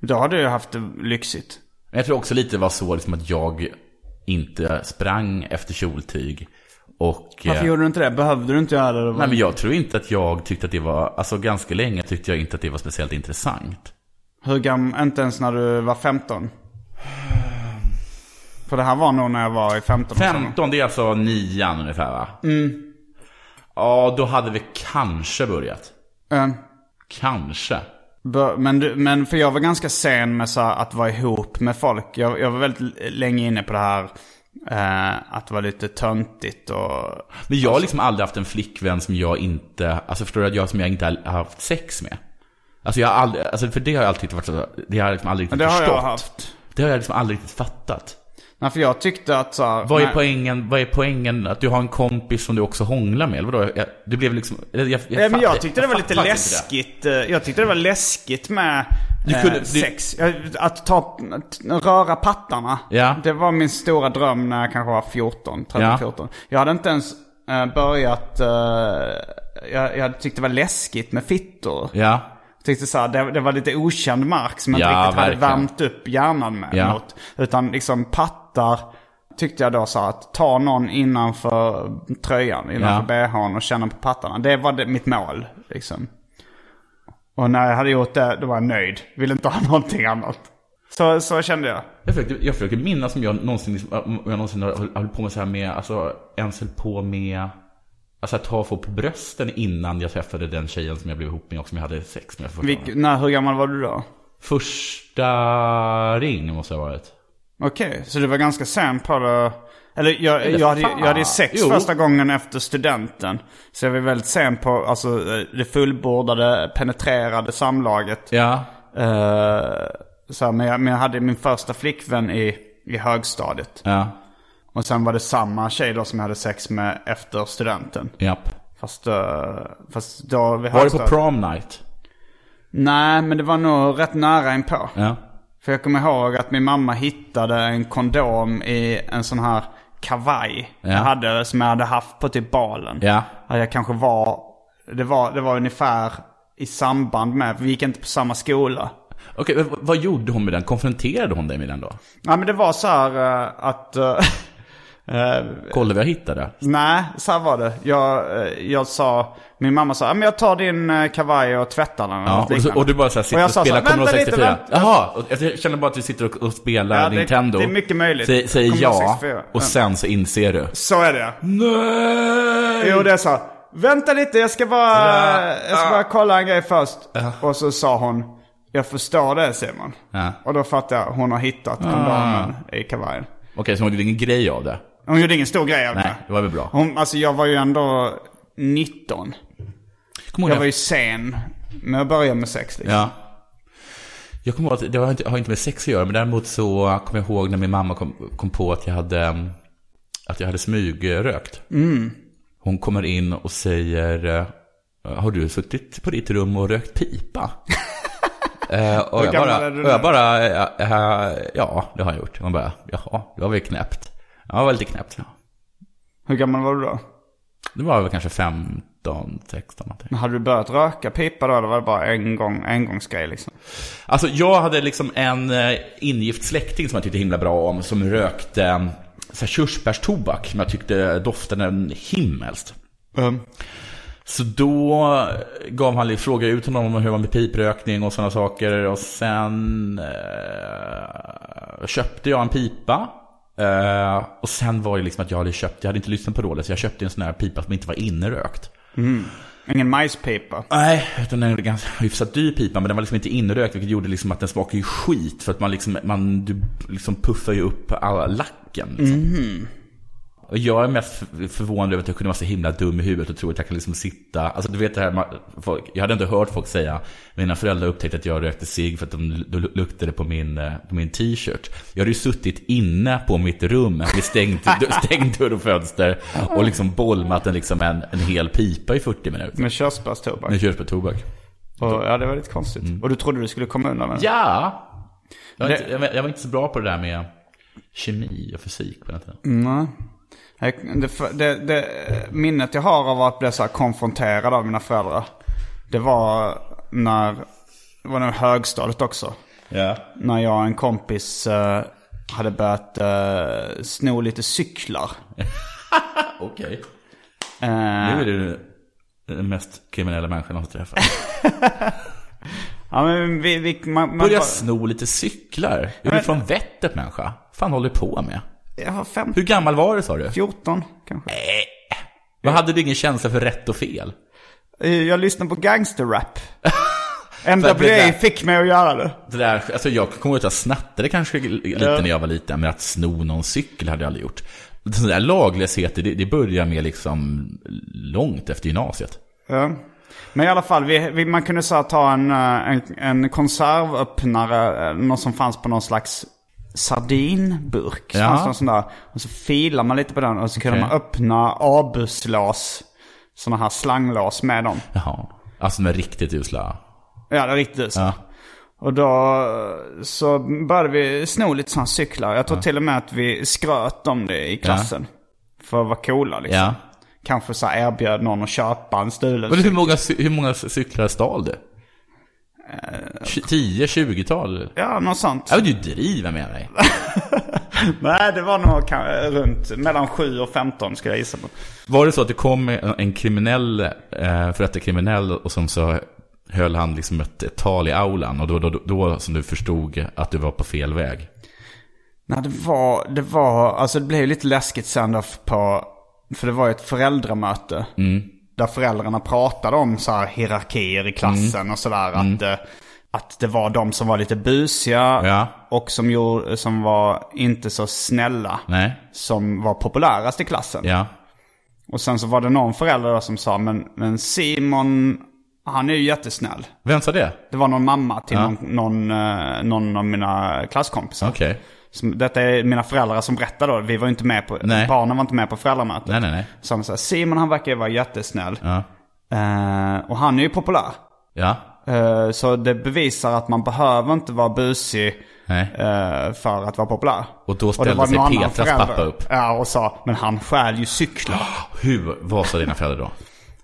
A: Då har du ju haft det lyxigt.
B: Men Jag tror också lite det var så liksom att jag inte sprang efter kjoltyg. Och,
A: Varför
B: eh,
A: gjorde du inte det? Behövde du inte göra det? det? var-
B: Nej, men jag tror inte att jag tyckte att det var, alltså ganska länge tyckte jag inte att det var speciellt intressant.
A: Hur gammal, inte ens när du var 15? För det här var nog när jag var i 15 årsåldern.
B: 15, det är alltså nian ungefär va? Mm. Ja, då hade vi kanske börjat.
A: Eh,
B: Kanske.
A: bör- Men, du, men för jag var ganska sen med så här, att vara ihop med folk. Jag, jag var väldigt l- länge inne på det här eh, att vara lite töntigt och...
B: Men jag har liksom aldrig haft en flickvän som jag inte, alltså förstår du, att jag som jag inte har haft sex med. Alltså jag har aldrig, alltså för det har jag alltid varit så, det har jag liksom aldrig
A: Men
B: riktigt
A: det har
B: förstått.
A: jag haft.
B: Det har jag liksom aldrig riktigt fattat.
A: Nej, för jag tyckte att så här,
B: Vad är
A: nej,
B: poängen, vad är poängen att du har en kompis som du också hånglar med? Eller vadå? Jag, det blev liksom, jag, jag,
A: Nej, men
B: fatt-
A: jag tyckte det
B: jag
A: var lite
B: fattade inte
A: läskigt. eh, Jag tyckte det var läskigt med
B: Du
A: eh,
B: kunde- du-
A: sex. Jag- Att ta, att röra pattarna.
B: Ja.
A: Det var min stora dröm när jag kanske var 14, 13,
B: Ja.
A: 14. Jag hade inte ens eh, börjat... eh, Jag, jag tyckte det var läskigt med fittor.
B: Ja.
A: tyckte så här, det, det var lite okänd mark som jag inte
B: Ja,
A: riktigt hade
B: verkligen.
A: värmt upp hjärnan med.
B: Ja.
A: Något. Utan liksom pattar tyckte jag då så här, att ta någon innanför tröjan, innanför bhn och känna på pattarna. Det var det, mitt mål liksom. Och när jag hade gjort det, då var jag nöjd. Ville inte ha någonting annat. Så, så kände jag.
B: Jag försöker, jag försöker minnas om jag någonsin, liksom, om jag någonsin har har hållit på med så här med, alltså ens höll på med, alltså att ta folk på brösten innan jag träffade den tjejen som jag blev ihop med och som jag hade sex med för första
A: Vilk,
B: gången.
A: när, hur gammal var du då?
B: Första ring måste jag ha varit.
A: Okej, så du var ganska sen på det. Eller jag, jag, hade, jag hade ju sex
B: Jo.
A: första gången efter studenten. Så jag var väldigt sen på alltså, eh, det fullbordade, penetrerade samlaget.
B: Ja.
A: Eh, så här, men, jag, men jag hade min första flickvän i, i högstadiet.
B: Ja.
A: Och sen var det samma tjej då som jag hade sex med efter studenten.
B: Japp.
A: Fast, eh, fast då vid
B: Var det på
A: högstadiet-
B: prom night?
A: Nej, men det var nog rätt nära inpå.
B: Ja.
A: För jag kommer ihåg att min mamma hittade en kondom i en sån här kavaj.
B: Ja.
A: Jag hade, som jag hade haft på typ balen.
B: Ja.
A: Att jag kanske var det, var, det var ungefär i samband med, vi gick inte på samma skola.
B: Okej, men v- vad gjorde hon med den? Konfronterade hon dig med den då?
A: Ja men det var så här eh, att, eh, eh,
B: Kolla vad jag hittade.
A: nej så här var det. Jag, eh, jag sa, min mamma sa, "Ja, men jag tar din eh, kavaj och tvättar den. eller
B: Ja,
A: något
B: och, så,
A: liknande."
B: och du bara så här sitter
A: jag
B: och,
A: sa så här,
B: spelar Commodore
A: "Vänta lite,
B: 64?
A: vänta."
B: Jaha, och jag känner bara att du sitter och, och spelar
A: Ja, det-
B: Nintendo.
A: det är mycket möjligt.
B: Sä- Säger
A: Commodore
B: ja,
A: 64, ja.
B: och sen så inser du.
A: Så är det.
B: Nej!
A: Jo, det sa Vänta lite, jag ska bara, jag ska bara kolla en grej först. Och så sa hon, jag förstår det Simon.
B: Ja. Ah.
A: Och då fattade jag, hon har hittat kondomen i kavajen.
B: Okej, så hon gjorde ingen grej av det.
A: Hon gjorde ingen stor grej av
B: Nej,
A: det.
B: det var väl bra.
A: Hon, alltså jag var ju ändå 19.
B: Kommer
A: Jag
B: ihåg
A: var ju
B: jag,
A: sen med att börja med sex liksom.
B: ja. jag kommer ihåg att det har inte, har inte med sex att göra, men däremot så kommer jag ihåg när min mamma kom, kom på att jag hade, ehm, att jag hade smygrökt.
A: Mm.
B: Hon kommer in och säger, eh, har du suttit på ditt rum och rökt pipa? Eh, och, jag
A: gammal
B: bara,
A: är du
B: och jag
A: nu?
B: bara, eh, eh, ja, det har jag gjort. Hon bara, jaha, det var väl knäppt. Ja, det var lite knäppt. Ja.
A: Hur gammal var du då?
B: Det var väl kanske 15, 16 någonting.
A: Men Hade du börjat röka pipa då eller var det bara en gång, engångsgrej liksom?
B: Alltså jag hade liksom en eh, ingift släkting som jag tyckte himla bra om som rökte eh, så här körsbärstobak som jag tyckte doftade himmelskt. Ehm. Så då gav han, lite- frågade jag ut honom om hur man med piprökning och sådana saker. Och sen eh, köpte jag en pipa. Eh, och sen var det liksom att jag hade köpt, jag hade inte lyssnat på rådet, så jag köpte en sån här pipa som inte var inrökt.
A: Ingen majspipa.
B: Nej, utan den är ganska hyfsat dyr pipa, men den var liksom inte inrökt, vilket gjorde liksom att den smakade ju skit. För att man liksom, man, du liksom puffar ju upp alla lacken. Liksom. Och jag är mest f- förvånad över att jag kunde vara så himla dum i huvudet och tro att jag kan liksom sitta, alltså du vet det här, man- folk, jag hade inte hört folk säga, mina föräldrar upptäckte att jag rökte cigg för att de l- luktade på min, eh, på min t-shirt. Jag hade ju suttit inne på mitt rum med stängd, stängd dörr och fönster och liksom bollmat en, liksom en, en hel pipa i 40 minuter.
A: Med körsbärstobak.
B: Med Mm. körsbärstobak.
A: Och, ja, det var lite konstigt. Och du trodde du skulle komma undan med det?
B: Ja! Jag var,
A: Det-
B: inte, jag, var, jag var inte så bra på det där med kemi och fysik på den tiden.
A: Nej. Jag- Det, det, det minnet jag har av att bli så här konfronterad av mina föräldrar. Det var när, det var nog högstadiet också.
B: Ja.
A: När jag och en kompis eh, hade börjat eh, sno lite cyklar.
B: Okej.
A: Eh,
B: Nu är du den mest kriminella människan jag någonsin träffat.
A: ja, men vi, vi, man, man,
B: Börja sno lite cyklar. Är du från vettet människa? fan håller du på med?
A: jag var fem,
B: Hur gammal var du sa du?
A: 14 kanske.
B: Vad hade du ingen känsla för rätt och fel?
A: Eh, Jag lyssnade på gangsterrap.
B: att bli
A: MWA
B: där.
A: fick mig att göra det.
B: Det där, alltså jag kommer ihåg att jag snattade kanske lite
A: Ja.
B: när jag var liten, men att sno någon cykel hade jag aldrig gjort. Sådana där laglösheter, det, det börjar med liksom långt efter gymnasiet.
A: Ja. Men i alla fall, vi, vi, man kunde så här, ta en, eh, en, en konservöppnare, eh, något som fanns på någon slags sardinburk.
B: Ja.
A: Ja. Sån där. Och så filar man lite på den och så kunde
B: Okej.
A: man öppna abuslås. Sådana här slanglås med dem.
B: Jaha. Alltså de är riktigt usla.
A: Ja, det är riktigt så.
B: Ja.
A: Och då eh, så började vi sno lite sådana cyklar. Jag tror till och med att vi skröt om det i klassen. För att vara coola liksom.
B: Ja.
A: Kanske så här erbjöd någon att köpa en stulen
B: Men hur många, cy- hur många cyklar stal du? 10-20-tal?
A: Ja, något sånt.
B: Ja, men du driver med dig.
A: Nej, det var nog ka- runt mellan 7 och 15 ska jag gissa på.
B: Var det så att det kom en en kriminell, eh, för att det är kriminell, och som så höll han liksom ett, ett tal i aulan, och då, då, då, då som du förstod att du var på fel väg?
A: Nej, det var, det var, alltså det blev ju lite läskigt sen då på, för det var ju ett föräldramöte.
B: Mm.
A: Där föräldrarna pratade om så här hierarkier i klassen
B: Mm.
A: och sådär. Att, eh, att det var de som var lite busiga
B: Ja.
A: och som, gjorde, som var inte så snälla.
B: Nej?
A: Som var populärast i klassen.
B: Ja?
A: Och sen så var det någon förälder då som sa, men, men Simon, han är ju jättesnäll.
B: Vem sa det?
A: Det var någon mamma till någon, någon, eh, någon av mina klasskompisar.
B: Okej.
A: Som, detta är mina föräldrar som berättar då. Vi var ju inte med på,
B: Nej.
A: barnen var inte med på föräldramötet.
B: Nej, nej, nej.
A: Så de sa, Simon han verkar ju vara jättesnäll.
B: Ja.
A: Eh, och han är ju populär.
B: Ja?
A: Eh, så det bevisar att man behöver inte vara busig
B: Nej.
A: eh, för att vara populär.
B: Och då
A: det
B: ställde
A: var
B: sig
A: någon annan
B: Petras
A: förälder-
B: pappa upp.
A: Ja, och sa, men han stjäl ju cyklar.
B: Hur, vad sa dina föräldrar då?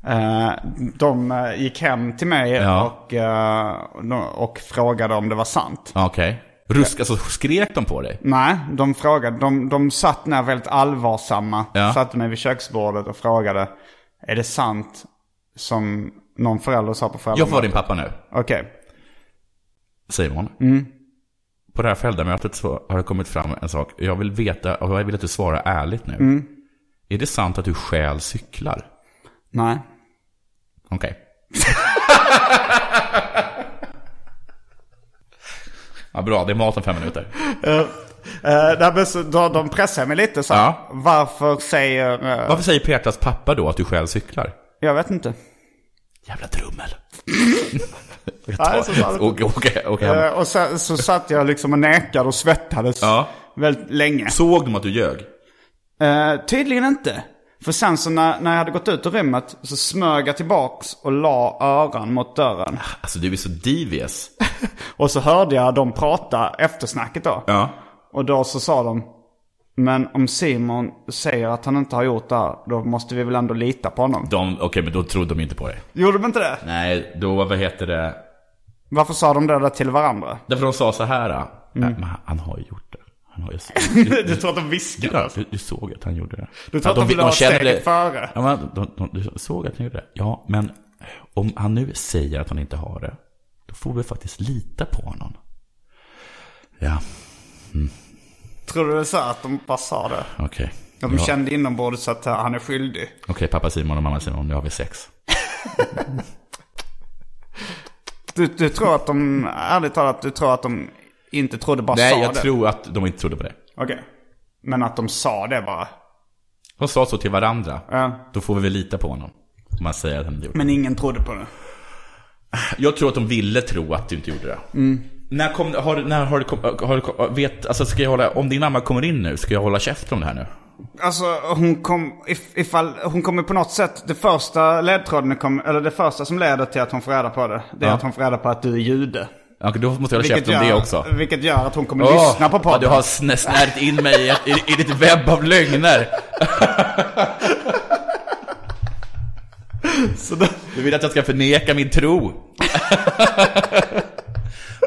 A: Eh, de eh, gick hem till mig
B: Ja.
A: och, eh, och frågade om det var sant.
B: Ja, Okej. Rusk, alltså skrek de på dig?
A: Nej, de frågade. De, de satt ner väldigt allvarsamma.
B: Ja.
A: Satte mig vid köksbordet och frågade. Är det sant som någon förälder sa på
B: Jag får
A: föräldrarna?
B: vara din pappa nu.
A: Okej.
B: Simon.
A: Mm.
B: På det här föräldramötet så har det kommit fram en sak. Jag vill veta, och jag vill att du svarar ärligt nu.
A: Mm.
B: Är det sant att du stjäl cyklar?
A: Nej.
B: Okej. ja, bra, det är mat om fem minuter.
A: Eh, Uh, där bes- då, de pressade mig lite så här.
B: Ja.
A: Varför säger... eh,
B: Varför säger Petras pappa då att du stjäl cyklar?
A: jag vet inte.
B: Jävla trummel.
A: Nej, så sa de.
B: Åk, åk, åk hem.
A: Eh, och sen så satt jag liksom och nekade och svettades
B: Ja.
A: väldigt länge.
B: Såg de att du ljög?
A: Eh, tydligen inte. För sen så när, när jag hade gått ut ur rummet så smög jag tillbaks och la öran mot dörren.
B: Alltså du är så devious.
A: Och så hörde jag dem prata eftersnacket då.
B: Ja.
A: Och då så sa de, men om Simon säger att han inte har gjort det här, då måste vi väl ändå lita på honom.
B: De, Okej, men då trodde de inte på dig.
A: Gjorde de inte det?
B: Nej, då, vad heter det?
A: Varför sa de det där till varandra?
B: Därför de sa så här. äh, Men han- han har ju gjort det. Han har ju
A: Mm. Du tror att de
B: du,
A: viskade?
B: du, du såg att han gjorde det.
A: Du tror att de ville ha steget före?
B: Ja, men de, de, du såg att han gjorde det. Ja, men om han nu säger att han inte har det, då får vi faktiskt lita på honom. Ja,
A: Tror du det är så att de bara sa det?
B: okej.
A: Att de kände inombords att eh, han är skyldig?
B: Okej, pappa Simon och mamma Simon, nu har vi sex.
A: Du, du tror att de, ärligt talat, du tror att de inte trodde bara
B: Nej,
A: sa
B: jag
A: det?
B: tror att de inte trodde på det.
A: Okej. Men att de sa det bara?
B: De sa så till varandra.
A: Ja.
B: Då får vi väl lita på honom. Om man säger att han inte gjorde det.
A: Men ingen trodde på det.
B: Jag tror att de ville tro att du inte gjorde det.
A: Mm.
B: När kom, har, när har, det kom- har, det kom- vet, alltså ska jag hålla, om din mamma kommer in nu, ska jag hålla käften om det här nu?
A: Alltså hon kom, if, ifall, hon kommer på något sätt, det första ledtråden kom, eller det första som leder till att hon får reda på det, det är
B: Ja.
A: att hon får reda på att du är jude.
B: Ja, då måste jag hålla käften om det också.
A: vilket gör att hon kommer
B: Åh,
A: lyssna på
B: ja,
A: podden.
B: du har snä- snärt in mig i, ett- i, i ditt webb av lögner.
A: Så då-
B: Du vill att jag ska förneka min tro.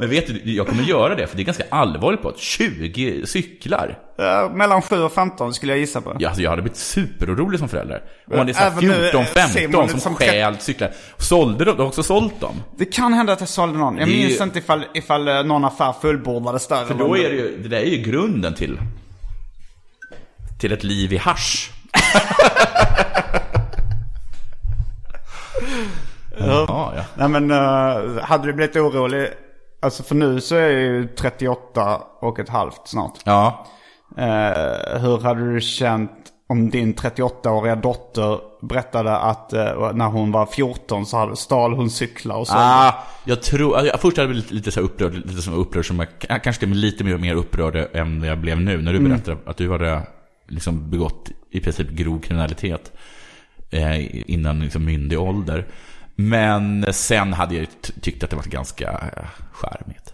B: Men vet du, jag kommer göra det, för det är ganska allvarligt på 20 cyklar.
A: Ja, mellan 7 och 15 skulle jag gissa på.
B: Ja, alltså jag hade blivit superorolig som förälder. Om man är
A: Även nu, eh, Simon,
B: 14-15 som,
A: som
B: stjäl cyklar. Sålde de, de har också sålt dem.
A: Det kan hända att jag sålde någon. Jag
B: Det är ju-
A: minns inte ifall, ifall eh, någon affär fullbordades där.
B: För då är det ju, det där är ju grunden till, till ett liv i hasch. ja, ja.
A: Nej men, eh, hade du blivit orolig? Alltså för nu så är jag ju 38 och ett halvt snart.
B: Ja,
A: Eh, hur hade du känt om din 38-åriga dotter berättade att eh, när hon var 14 så hade, stal hon cyklar och så?
B: Ah, jag tror, alltså, jag- först hade jag blivit lite så här upprörd, lite som upprörd som jag, jag kanske till och med lite mer, mer upprörd än jag blev nu när du
A: Mm.
B: berättade att du hade liksom begått i princip grov kriminalitet eh, innan liksom myndig ålder. Men sen hade jag ju ty- tyckt att det var ganska eh, charmigt.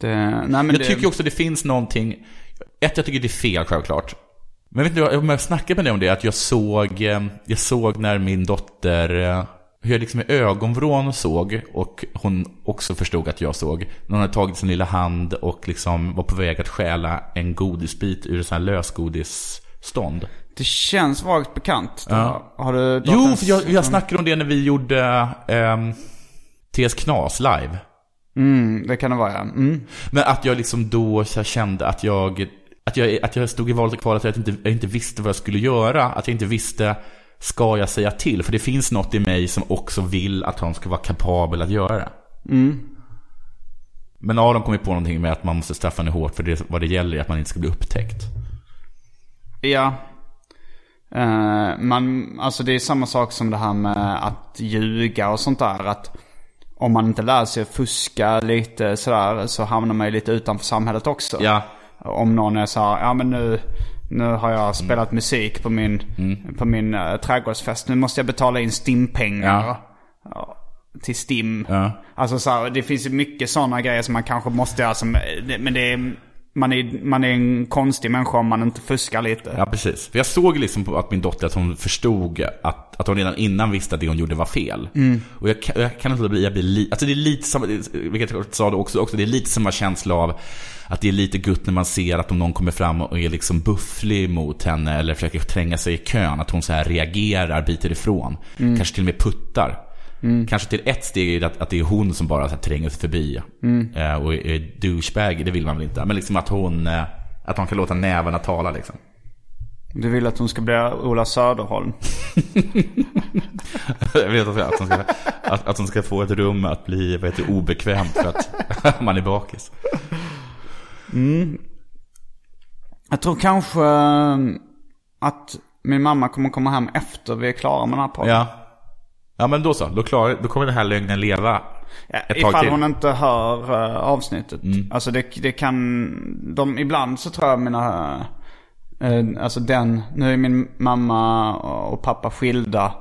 A: Det, nej, men
B: jag
A: det,
B: tycker också det finns någonting, ett jag tycker det är fel självklart. Men vet du, jag jag snackade med dig om det, att jag såg, eh, jag såg när min dotter, eh, hur jag liksom i ögonvrån såg och hon också förstod att jag såg. När hon hade tagit sin lilla hand och liksom var på väg att stjäla en godisbit ur en sån här lösgodisstånd.
A: det känns vagt bekant.
B: Ja.
A: Har du
B: Jo,
A: dotterns-
B: för jag, jag snackade om det när vi gjorde eh, TS Knas live.
A: Mm, det kan det vara ja. Mm.
B: Men att jag liksom då så här kände att jag, att jag, att jag stod i valet och kvalet att jag inte, jag inte visste vad jag skulle göra. Att jag inte visste, ska jag säga till? För det finns något i mig som också vill att han ska vara kapabel att göra det. Men Aron kom ju på någonting med att man måste straffa henne hårt för det, vad det gäller är att man inte ska bli upptäckt.
A: Ja. Eh, man, alltså det är samma sak som det här med att ljuga och sånt där. Att om man inte lär sig att fuska lite sådär så hamnar man ju lite utanför samhället också.
B: Ja.
A: Om någon är så här, ja men nu, nu har
B: Mm.
A: jag spelat musik på min, på min uh, trädgårdsfest. Nu måste jag betala in STIM-pengar.
B: Ja.
A: Ja, Till STIM.
B: Ja.
A: Alltså så här, det finns ju mycket sådana grejer som man kanske måste göra som, men det är, man är, man är en konstig människa om man inte fuskar lite.
B: Ja, precis. För jag såg liksom på att min dotter, att hon förstod att, att hon redan innan visste att det hon gjorde var fel. Och jag, kan- jag kan inte låta bli, jag blir li, alltså det är lite samma, vilket jag sa då också, också, det är lite samma känsla av att det är lite gutt när man ser att om någon kommer fram och är liksom bufflig mot henne eller försöker tränga sig i kön, att hon så här reagerar, biter ifrån. Kanske till och med puttar. Kanske till ett steg är det att, att det är hon som bara så här tränger sig förbi. Eh, och är douchebag, det vill man väl inte. Men liksom att hon, eh, att man kan låta nävarna tala liksom.
A: Du vill att hon ska bli Ola Söderholm.
B: Jag vet att, att, de ska, att, att de ska få ett rum att bli vad heter, det, obekvämt för att man är bakis.
A: Jag tror kanske eh, att min mamma kommer komma hem efter vi är klara med den här podden.
B: Ja. ja, men då så. Då, klarar, då kommer den här lögnen leva ett tag
A: Ifall
B: till. Mm.
A: hon inte hör eh, avsnittet. Alltså det, det kan... De, ibland så tror jag mina... eh, alltså den... Nu är min mamma och pappa skilda.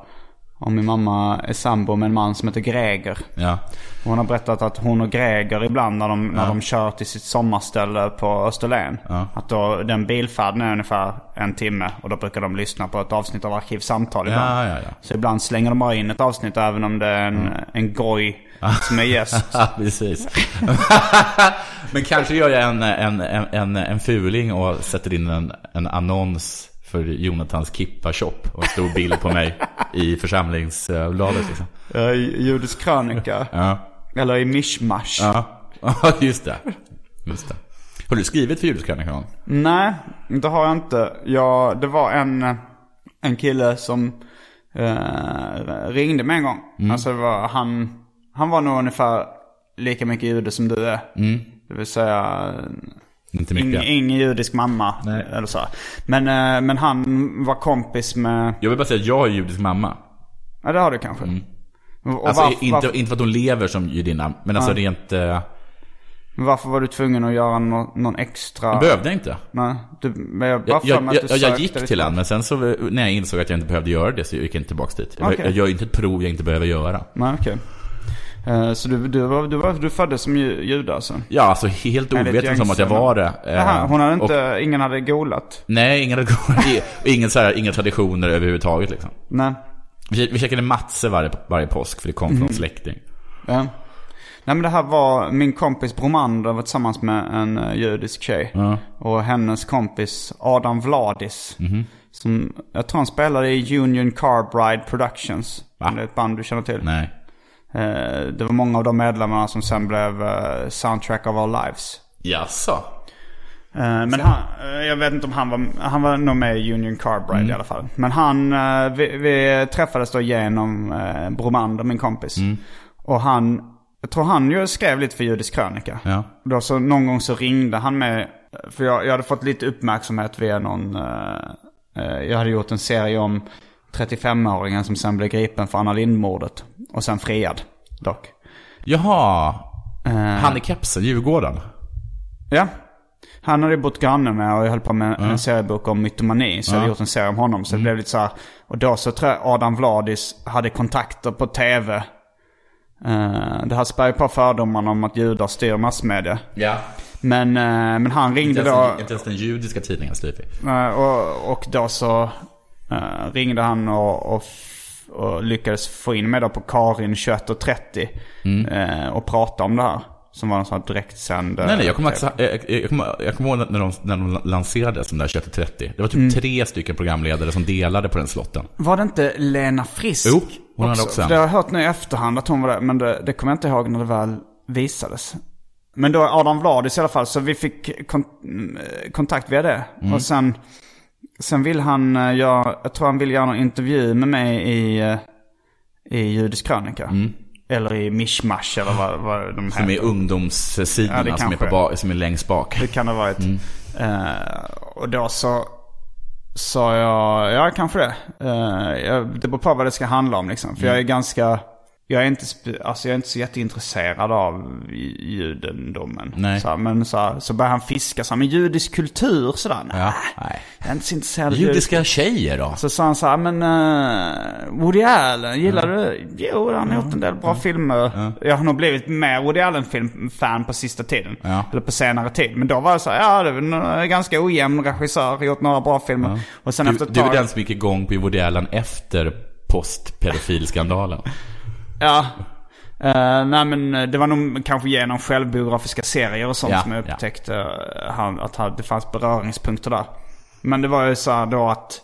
A: Och min mamma är sambo med en man som heter Greger.
B: Ja.
A: Hon har berättat att hon och Greger ibland när de, när de kör till sitt sommarställe på Österlen. Att då, den bilfärden är ungefär en timme och då brukar de lyssna på ett avsnitt av Arkivsamtal ibland.
B: Ja, Mm. ja, ja.
A: Så ibland slänger de bara in ett avsnitt även om det är en, en goj som är gäst.
B: Ja, precis. men kanske gör jag en, en, en, en, en fuling och sätter in en, en annons för Jonathans Kippa-shop och en stor bild på mig i församlingsbladet. Liksom.
A: Eh, Judisk krönika.
B: Ja.
A: Eller i Mishmash.
B: ja, just det. Just det. Har du skrivit för Judekrönikan?
A: Nej, det har jag inte. Jag, det var en, en kille som eh, ringde mig en gång.
B: Mm.
A: Alltså det var, han,
B: Mm.
A: han var nog ungefär lika mycket jude som du är. Det vill säga
B: Inte
A: Ing,
B: mycket.
A: ingen judisk mamma.
B: Nej.
A: Eller så. här. Men, eh, men han var kompis med...
B: Jag vill bara säga att jag är judisk mamma.
A: Ja, det har du kanske. Och och
B: Mm. Alltså
A: varf-
B: inte,
A: varf-
B: inte för att hon lever som judinna, men alltså rent... Eh,
A: Varför var du tvungen att göra nå- någon extra...
B: behövde jag inte.
A: Nej, du, men jag,
B: Jag,
A: varför
B: jag,
A: att du
B: jag, jag
A: sökte
B: gick
A: lite-
B: till han, men sen så eh, när jag insåg att jag inte behövde göra det så gick jag inte tillbaka dit. Jag,
A: Okej.
B: jag gör inte ett prov jag inte behöver göra.
A: Nej, okej. Eh, så du, du, var, du, var, du föddes som ju- jude alltså?
B: Ja, alltså helt
A: Enligt
B: ovetande om att jag
A: gängse-
B: var det. eh,
A: Jaha, hon hade
B: och-
A: inte, ingen hade golat?
B: Nej, inga, rekommendation- ingen, så här, inga traditioner överhuvudtaget liksom.
A: Nej.
B: Vi, vi käkade matse varje, varje påsk för det kom från
A: Mm.
B: släkting.
A: Ja. Nej men det här var min kompis Bromander var tillsammans med en eh, judisk tjej. Och hennes kompis Adam Vladis.
B: Mhm.
A: Som, jag tror han spelade i Union Carbide Productions.
B: Va?
A: Om Det är ett band du känner till.
B: Nej.
A: Eh, Det var många av de medlemmarna som sen blev eh, Soundtrack of Our Lives.
B: Jaså?
A: Eh, Men han, eh, jag vet inte om han var, han var nog med i Union Carbide i alla fall. Men han, eh, vi, vi träffades då genom eh, Bromander, min kompis. Och han, jag tror han ju skrev lite för Judisk Krönika.
B: Ja.
A: Då så någon gång så ringde han med, för jag, jag hade fått lite uppmärksamhet via någon, eh, eh, jag hade gjort en serie om 35-åringen som sen blev gripen för Anna Lindh-mordet. Och sen friad, dock.
B: Jaha.
A: Eh.
B: Han i kepsen, Djurgården.
A: Ja. Han hade ju bott granne med och jag höll på med en seriebok om mytomani. Så jag hade gjort en serie om honom.
B: Mm.
A: Så det blev lite så här. Och då så tror jag Adam Vladis hade kontakter på tv. Eh, det här spär ju på fördomarna om att judar styr massmedia.
B: Ja.
A: Men, eh, men han ringde
B: Inte
A: då.
B: ens, inte ens den judiska tidningen Sleepy.
A: Eh, och, och då så eh, ringde han och, och, f- och lyckades få in mig då på Karin 21.30
B: Mm.
A: eh, och prata om det här. Som var en sån här direktsänd... eh,
B: Nej, nej, jag kommer, också, jag, jag, kommer, jag kommer ihåg när de, när de lanserades, de där 30 Det var typ
A: Mm.
B: tre stycken programledare som delade på den slotten.
A: Var det inte Lena Frisk?
B: Jo, hon hade också
A: För
B: en.
A: Det har jag hört nu i efterhand att hon var där, men det, det kommer jag inte ihåg när det väl visades. Men då Adam Vladis i alla fall, så vi fick kon- mm, eh, kontakt via det.
B: Mm.
A: Och sen, sen vill han eh, göra, jag tror han vill göra någon intervju med mig i, eh, i Judisk Krönika. Eller i Mishmash eller vad, vad de
B: Mm. Som
A: heter.
B: är
A: Ja,
B: ungdomssidorna
A: det
B: som, är på
A: kanske.
B: ba- som är längst bak.
A: Det kan ha varit.
B: Mm.
A: Eh, och då så sa jag, ja kanske det. Eh, jag, det beror på vad det ska handla om liksom. För jag är
B: Mm.
A: ganska, jag är inte, sp- alltså jag är inte så jätteintresserad av ju- judendomen.
B: Nej.
A: Så här, men så, här, så börjar han fiska så här, men judisk kultur sådär.
B: Ja,
A: Nej,
B: nej.
A: jag är inte så intresserad av judisk
B: Judiska tjejer då?
A: så sa han så här, "Ah, men eh, Woody Allen, gillar du? Jo, han har gjort en del bra filmer. Jag har nog blivit mer Woody Allen-fan på sista tiden.
B: Ja.
A: Eller på senare tid. Men då var jag så här, ja det är väl en ganska ojämn regissör, gjort några bra filmer. Och sen
B: Du,
A: efter ett
B: du
A: tag...
B: är den som gick igång på Woody Allen efter postpedofilskandalen.
A: Ja. Eh, nej men eh, det var nog kanske genom självbiografiska serier och sånt
B: Ja,
A: som jag
B: ja.
A: upptäckte eh, han, att han, det fanns beröringspunkter där. Men det var ju så här då att...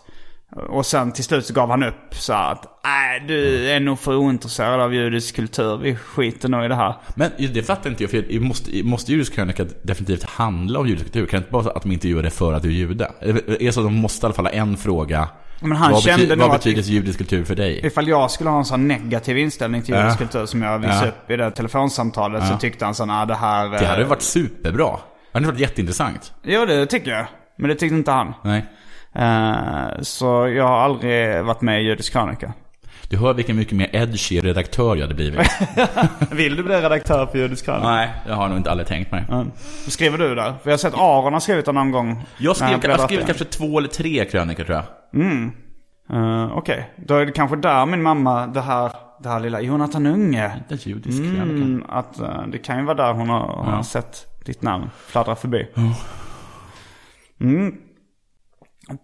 A: Och sen till slut så gav han upp så här att nej du
B: Mm.
A: är nog för ointresserad av judisk kultur. Vi skiter nog i det här.
B: Men det fattar inte jag, för det måste, måste judisk krönika definitivt handla om judisk kultur? Kan det inte bara vara att de inte gör det för att du är jude? Är det så att de måste i alla fall ha en fråga?
A: Men han
B: vad
A: kände
B: bety-
A: nog
B: vad
A: att-
B: betyder judisk kultur för dig?
A: Ifall jag skulle ha en sån negativ inställning till judisk
B: Ja.
A: kultur som jag visade
B: Ja.
A: upp i det telefonsamtalet så tyckte han så här "Nej, det här... eh,
B: Det hade ju varit superbra. Det hade varit jätteintressant.
A: Jo det tycker jag. Men det tyckte inte han.
B: Nej.
A: Eh, så jag har aldrig varit med i judisk krönika.
B: Du hör vilken mycket mer edgy redaktör jag hade blivit.
A: Vill du bli redaktör för Judisk Krönika?
B: Nej, det har jag nog inte aldrig tänkt mig.
A: Skriver du där? För jag har sett Aron har skrivit det någon gång. Eh,
B: Jag
A: när han
B: skrev, jag
A: bläddrat
B: skrev
A: i den.
B: kanske två eller tre krönikor tror jag.
A: Eh, Okej, då är det kanske där min mamma, det här, det här lilla Jonathan Unge.
B: Den judisk krönika.
A: Mm, att, eh, det kan ju vara där hon har, hon har sett ditt namn fladdra förbi. Mm.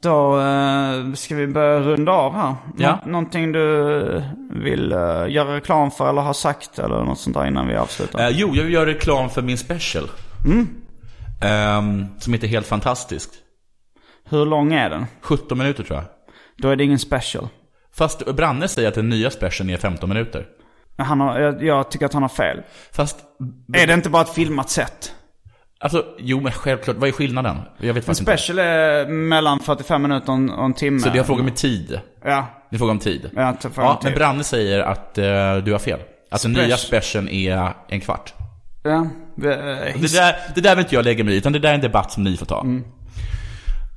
A: Då eh, ska vi börja runda av här. Nå-
B: Ja.
A: Någonting du vill eh, göra reklam för eller ha sagt eller något sånt där innan vi avslutar?
B: Eh, jo, jag vill göra reklam för min special.
A: Mm.
B: Ehm, som heter Helt Fantastiskt.
A: Hur lång är den?
B: 17 minuter tror jag.
A: Då är det ingen special.
B: Fast Branne säger att den nya specialen är 15 minuter.
A: Han har, jag, jag tycker att han har fel.
B: Fast,
A: Är det inte bara ett filmat sätt?
B: alltså, jo men självklart, vad är skillnaden? Jag vet
A: En
B: faktiskt inte.
A: special är mellan 45 minuter och en, och en timme.
B: Så det är en fråga med tid.
A: Ja,
B: Det är en fråga om tid.
A: Ja, det är en fråga om
B: ja,
A: tid.
B: men Branne säger att eh, du har fel. Att den
A: Special.
B: nya specialen är en kvart.
A: Ja, eh,
B: Det där, det där vill inte jag lägga mig i, utan det där är en debatt som ni får ta.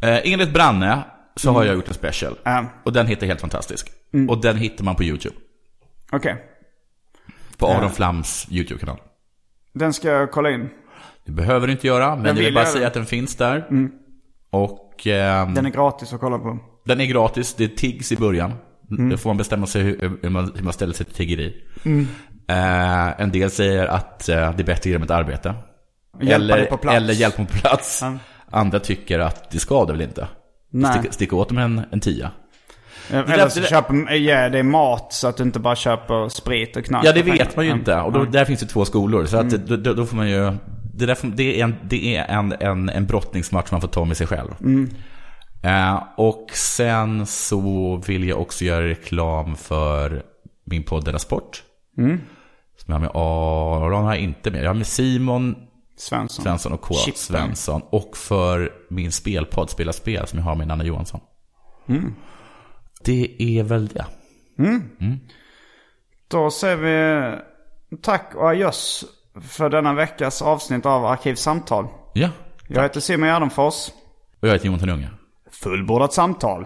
B: Eh, enligt Branne så har jag gjort en special.
A: Ja.
B: Och den heter Helt Fantastisk. Och den hittar man på YouTube.
A: Okej.
B: På Aron Flams YouTube-kanal.
A: Den ska jag kolla in.
B: Det behöver du inte göra, men jag
A: vill
B: vill bara
A: jag-
B: säga att den finns där. Och ehm,
A: Den är gratis att kolla på.
B: den är gratis, det är tiggs i början.
A: Mm.
B: Då får man bestämma sig hur, hur, man, hur man ställer sig till tiggeri. Eh, en del säger att eh, det är bättre genom ett arbete.
A: Hjälpa
B: eller,
A: dig på plats.
B: Eller hjälp på plats.
A: Ja.
B: Andra tycker att det skadar väl inte.
A: Nej.
B: Stick, stick åt dem en, en tia.
A: Eller så
B: det där-
A: köper, ge dig mat så att du inte bara köper sprit och knark. Mm.
B: Ja, det
A: och pengar.
B: vet man ju
A: Ja.
B: inte. Och då, där finns det två skolor. Så att, då, då, då får man ju... Det, där får, det är, en, det är en, en, en brottningsmatch man får ta med sig själv. Eh, och sen så vill jag också göra reklam för min podd Della Sport. Som jag har med Aron har jag inte med. Jag har med Simon
A: Svensson.
B: Svensson och K.
A: Chippen.
B: Svensson. Och för min spelpodd Spela Spel som jag har med Nanne Johansson. Det är väl det.
A: Då säger vi tack och adjöss för denna veckas avsnitt av Arkivsamtal.
B: Ja,
A: Jag heter Simon Gärdenfors.
B: och jag heter Jonathan Unge.
A: Fullbordat samtal.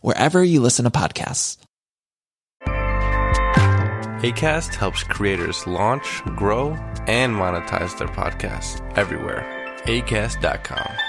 F: wherever you listen to podcasts.
G: ACAST helps creators launch, grow, and monetize their podcasts everywhere. ACAST.com.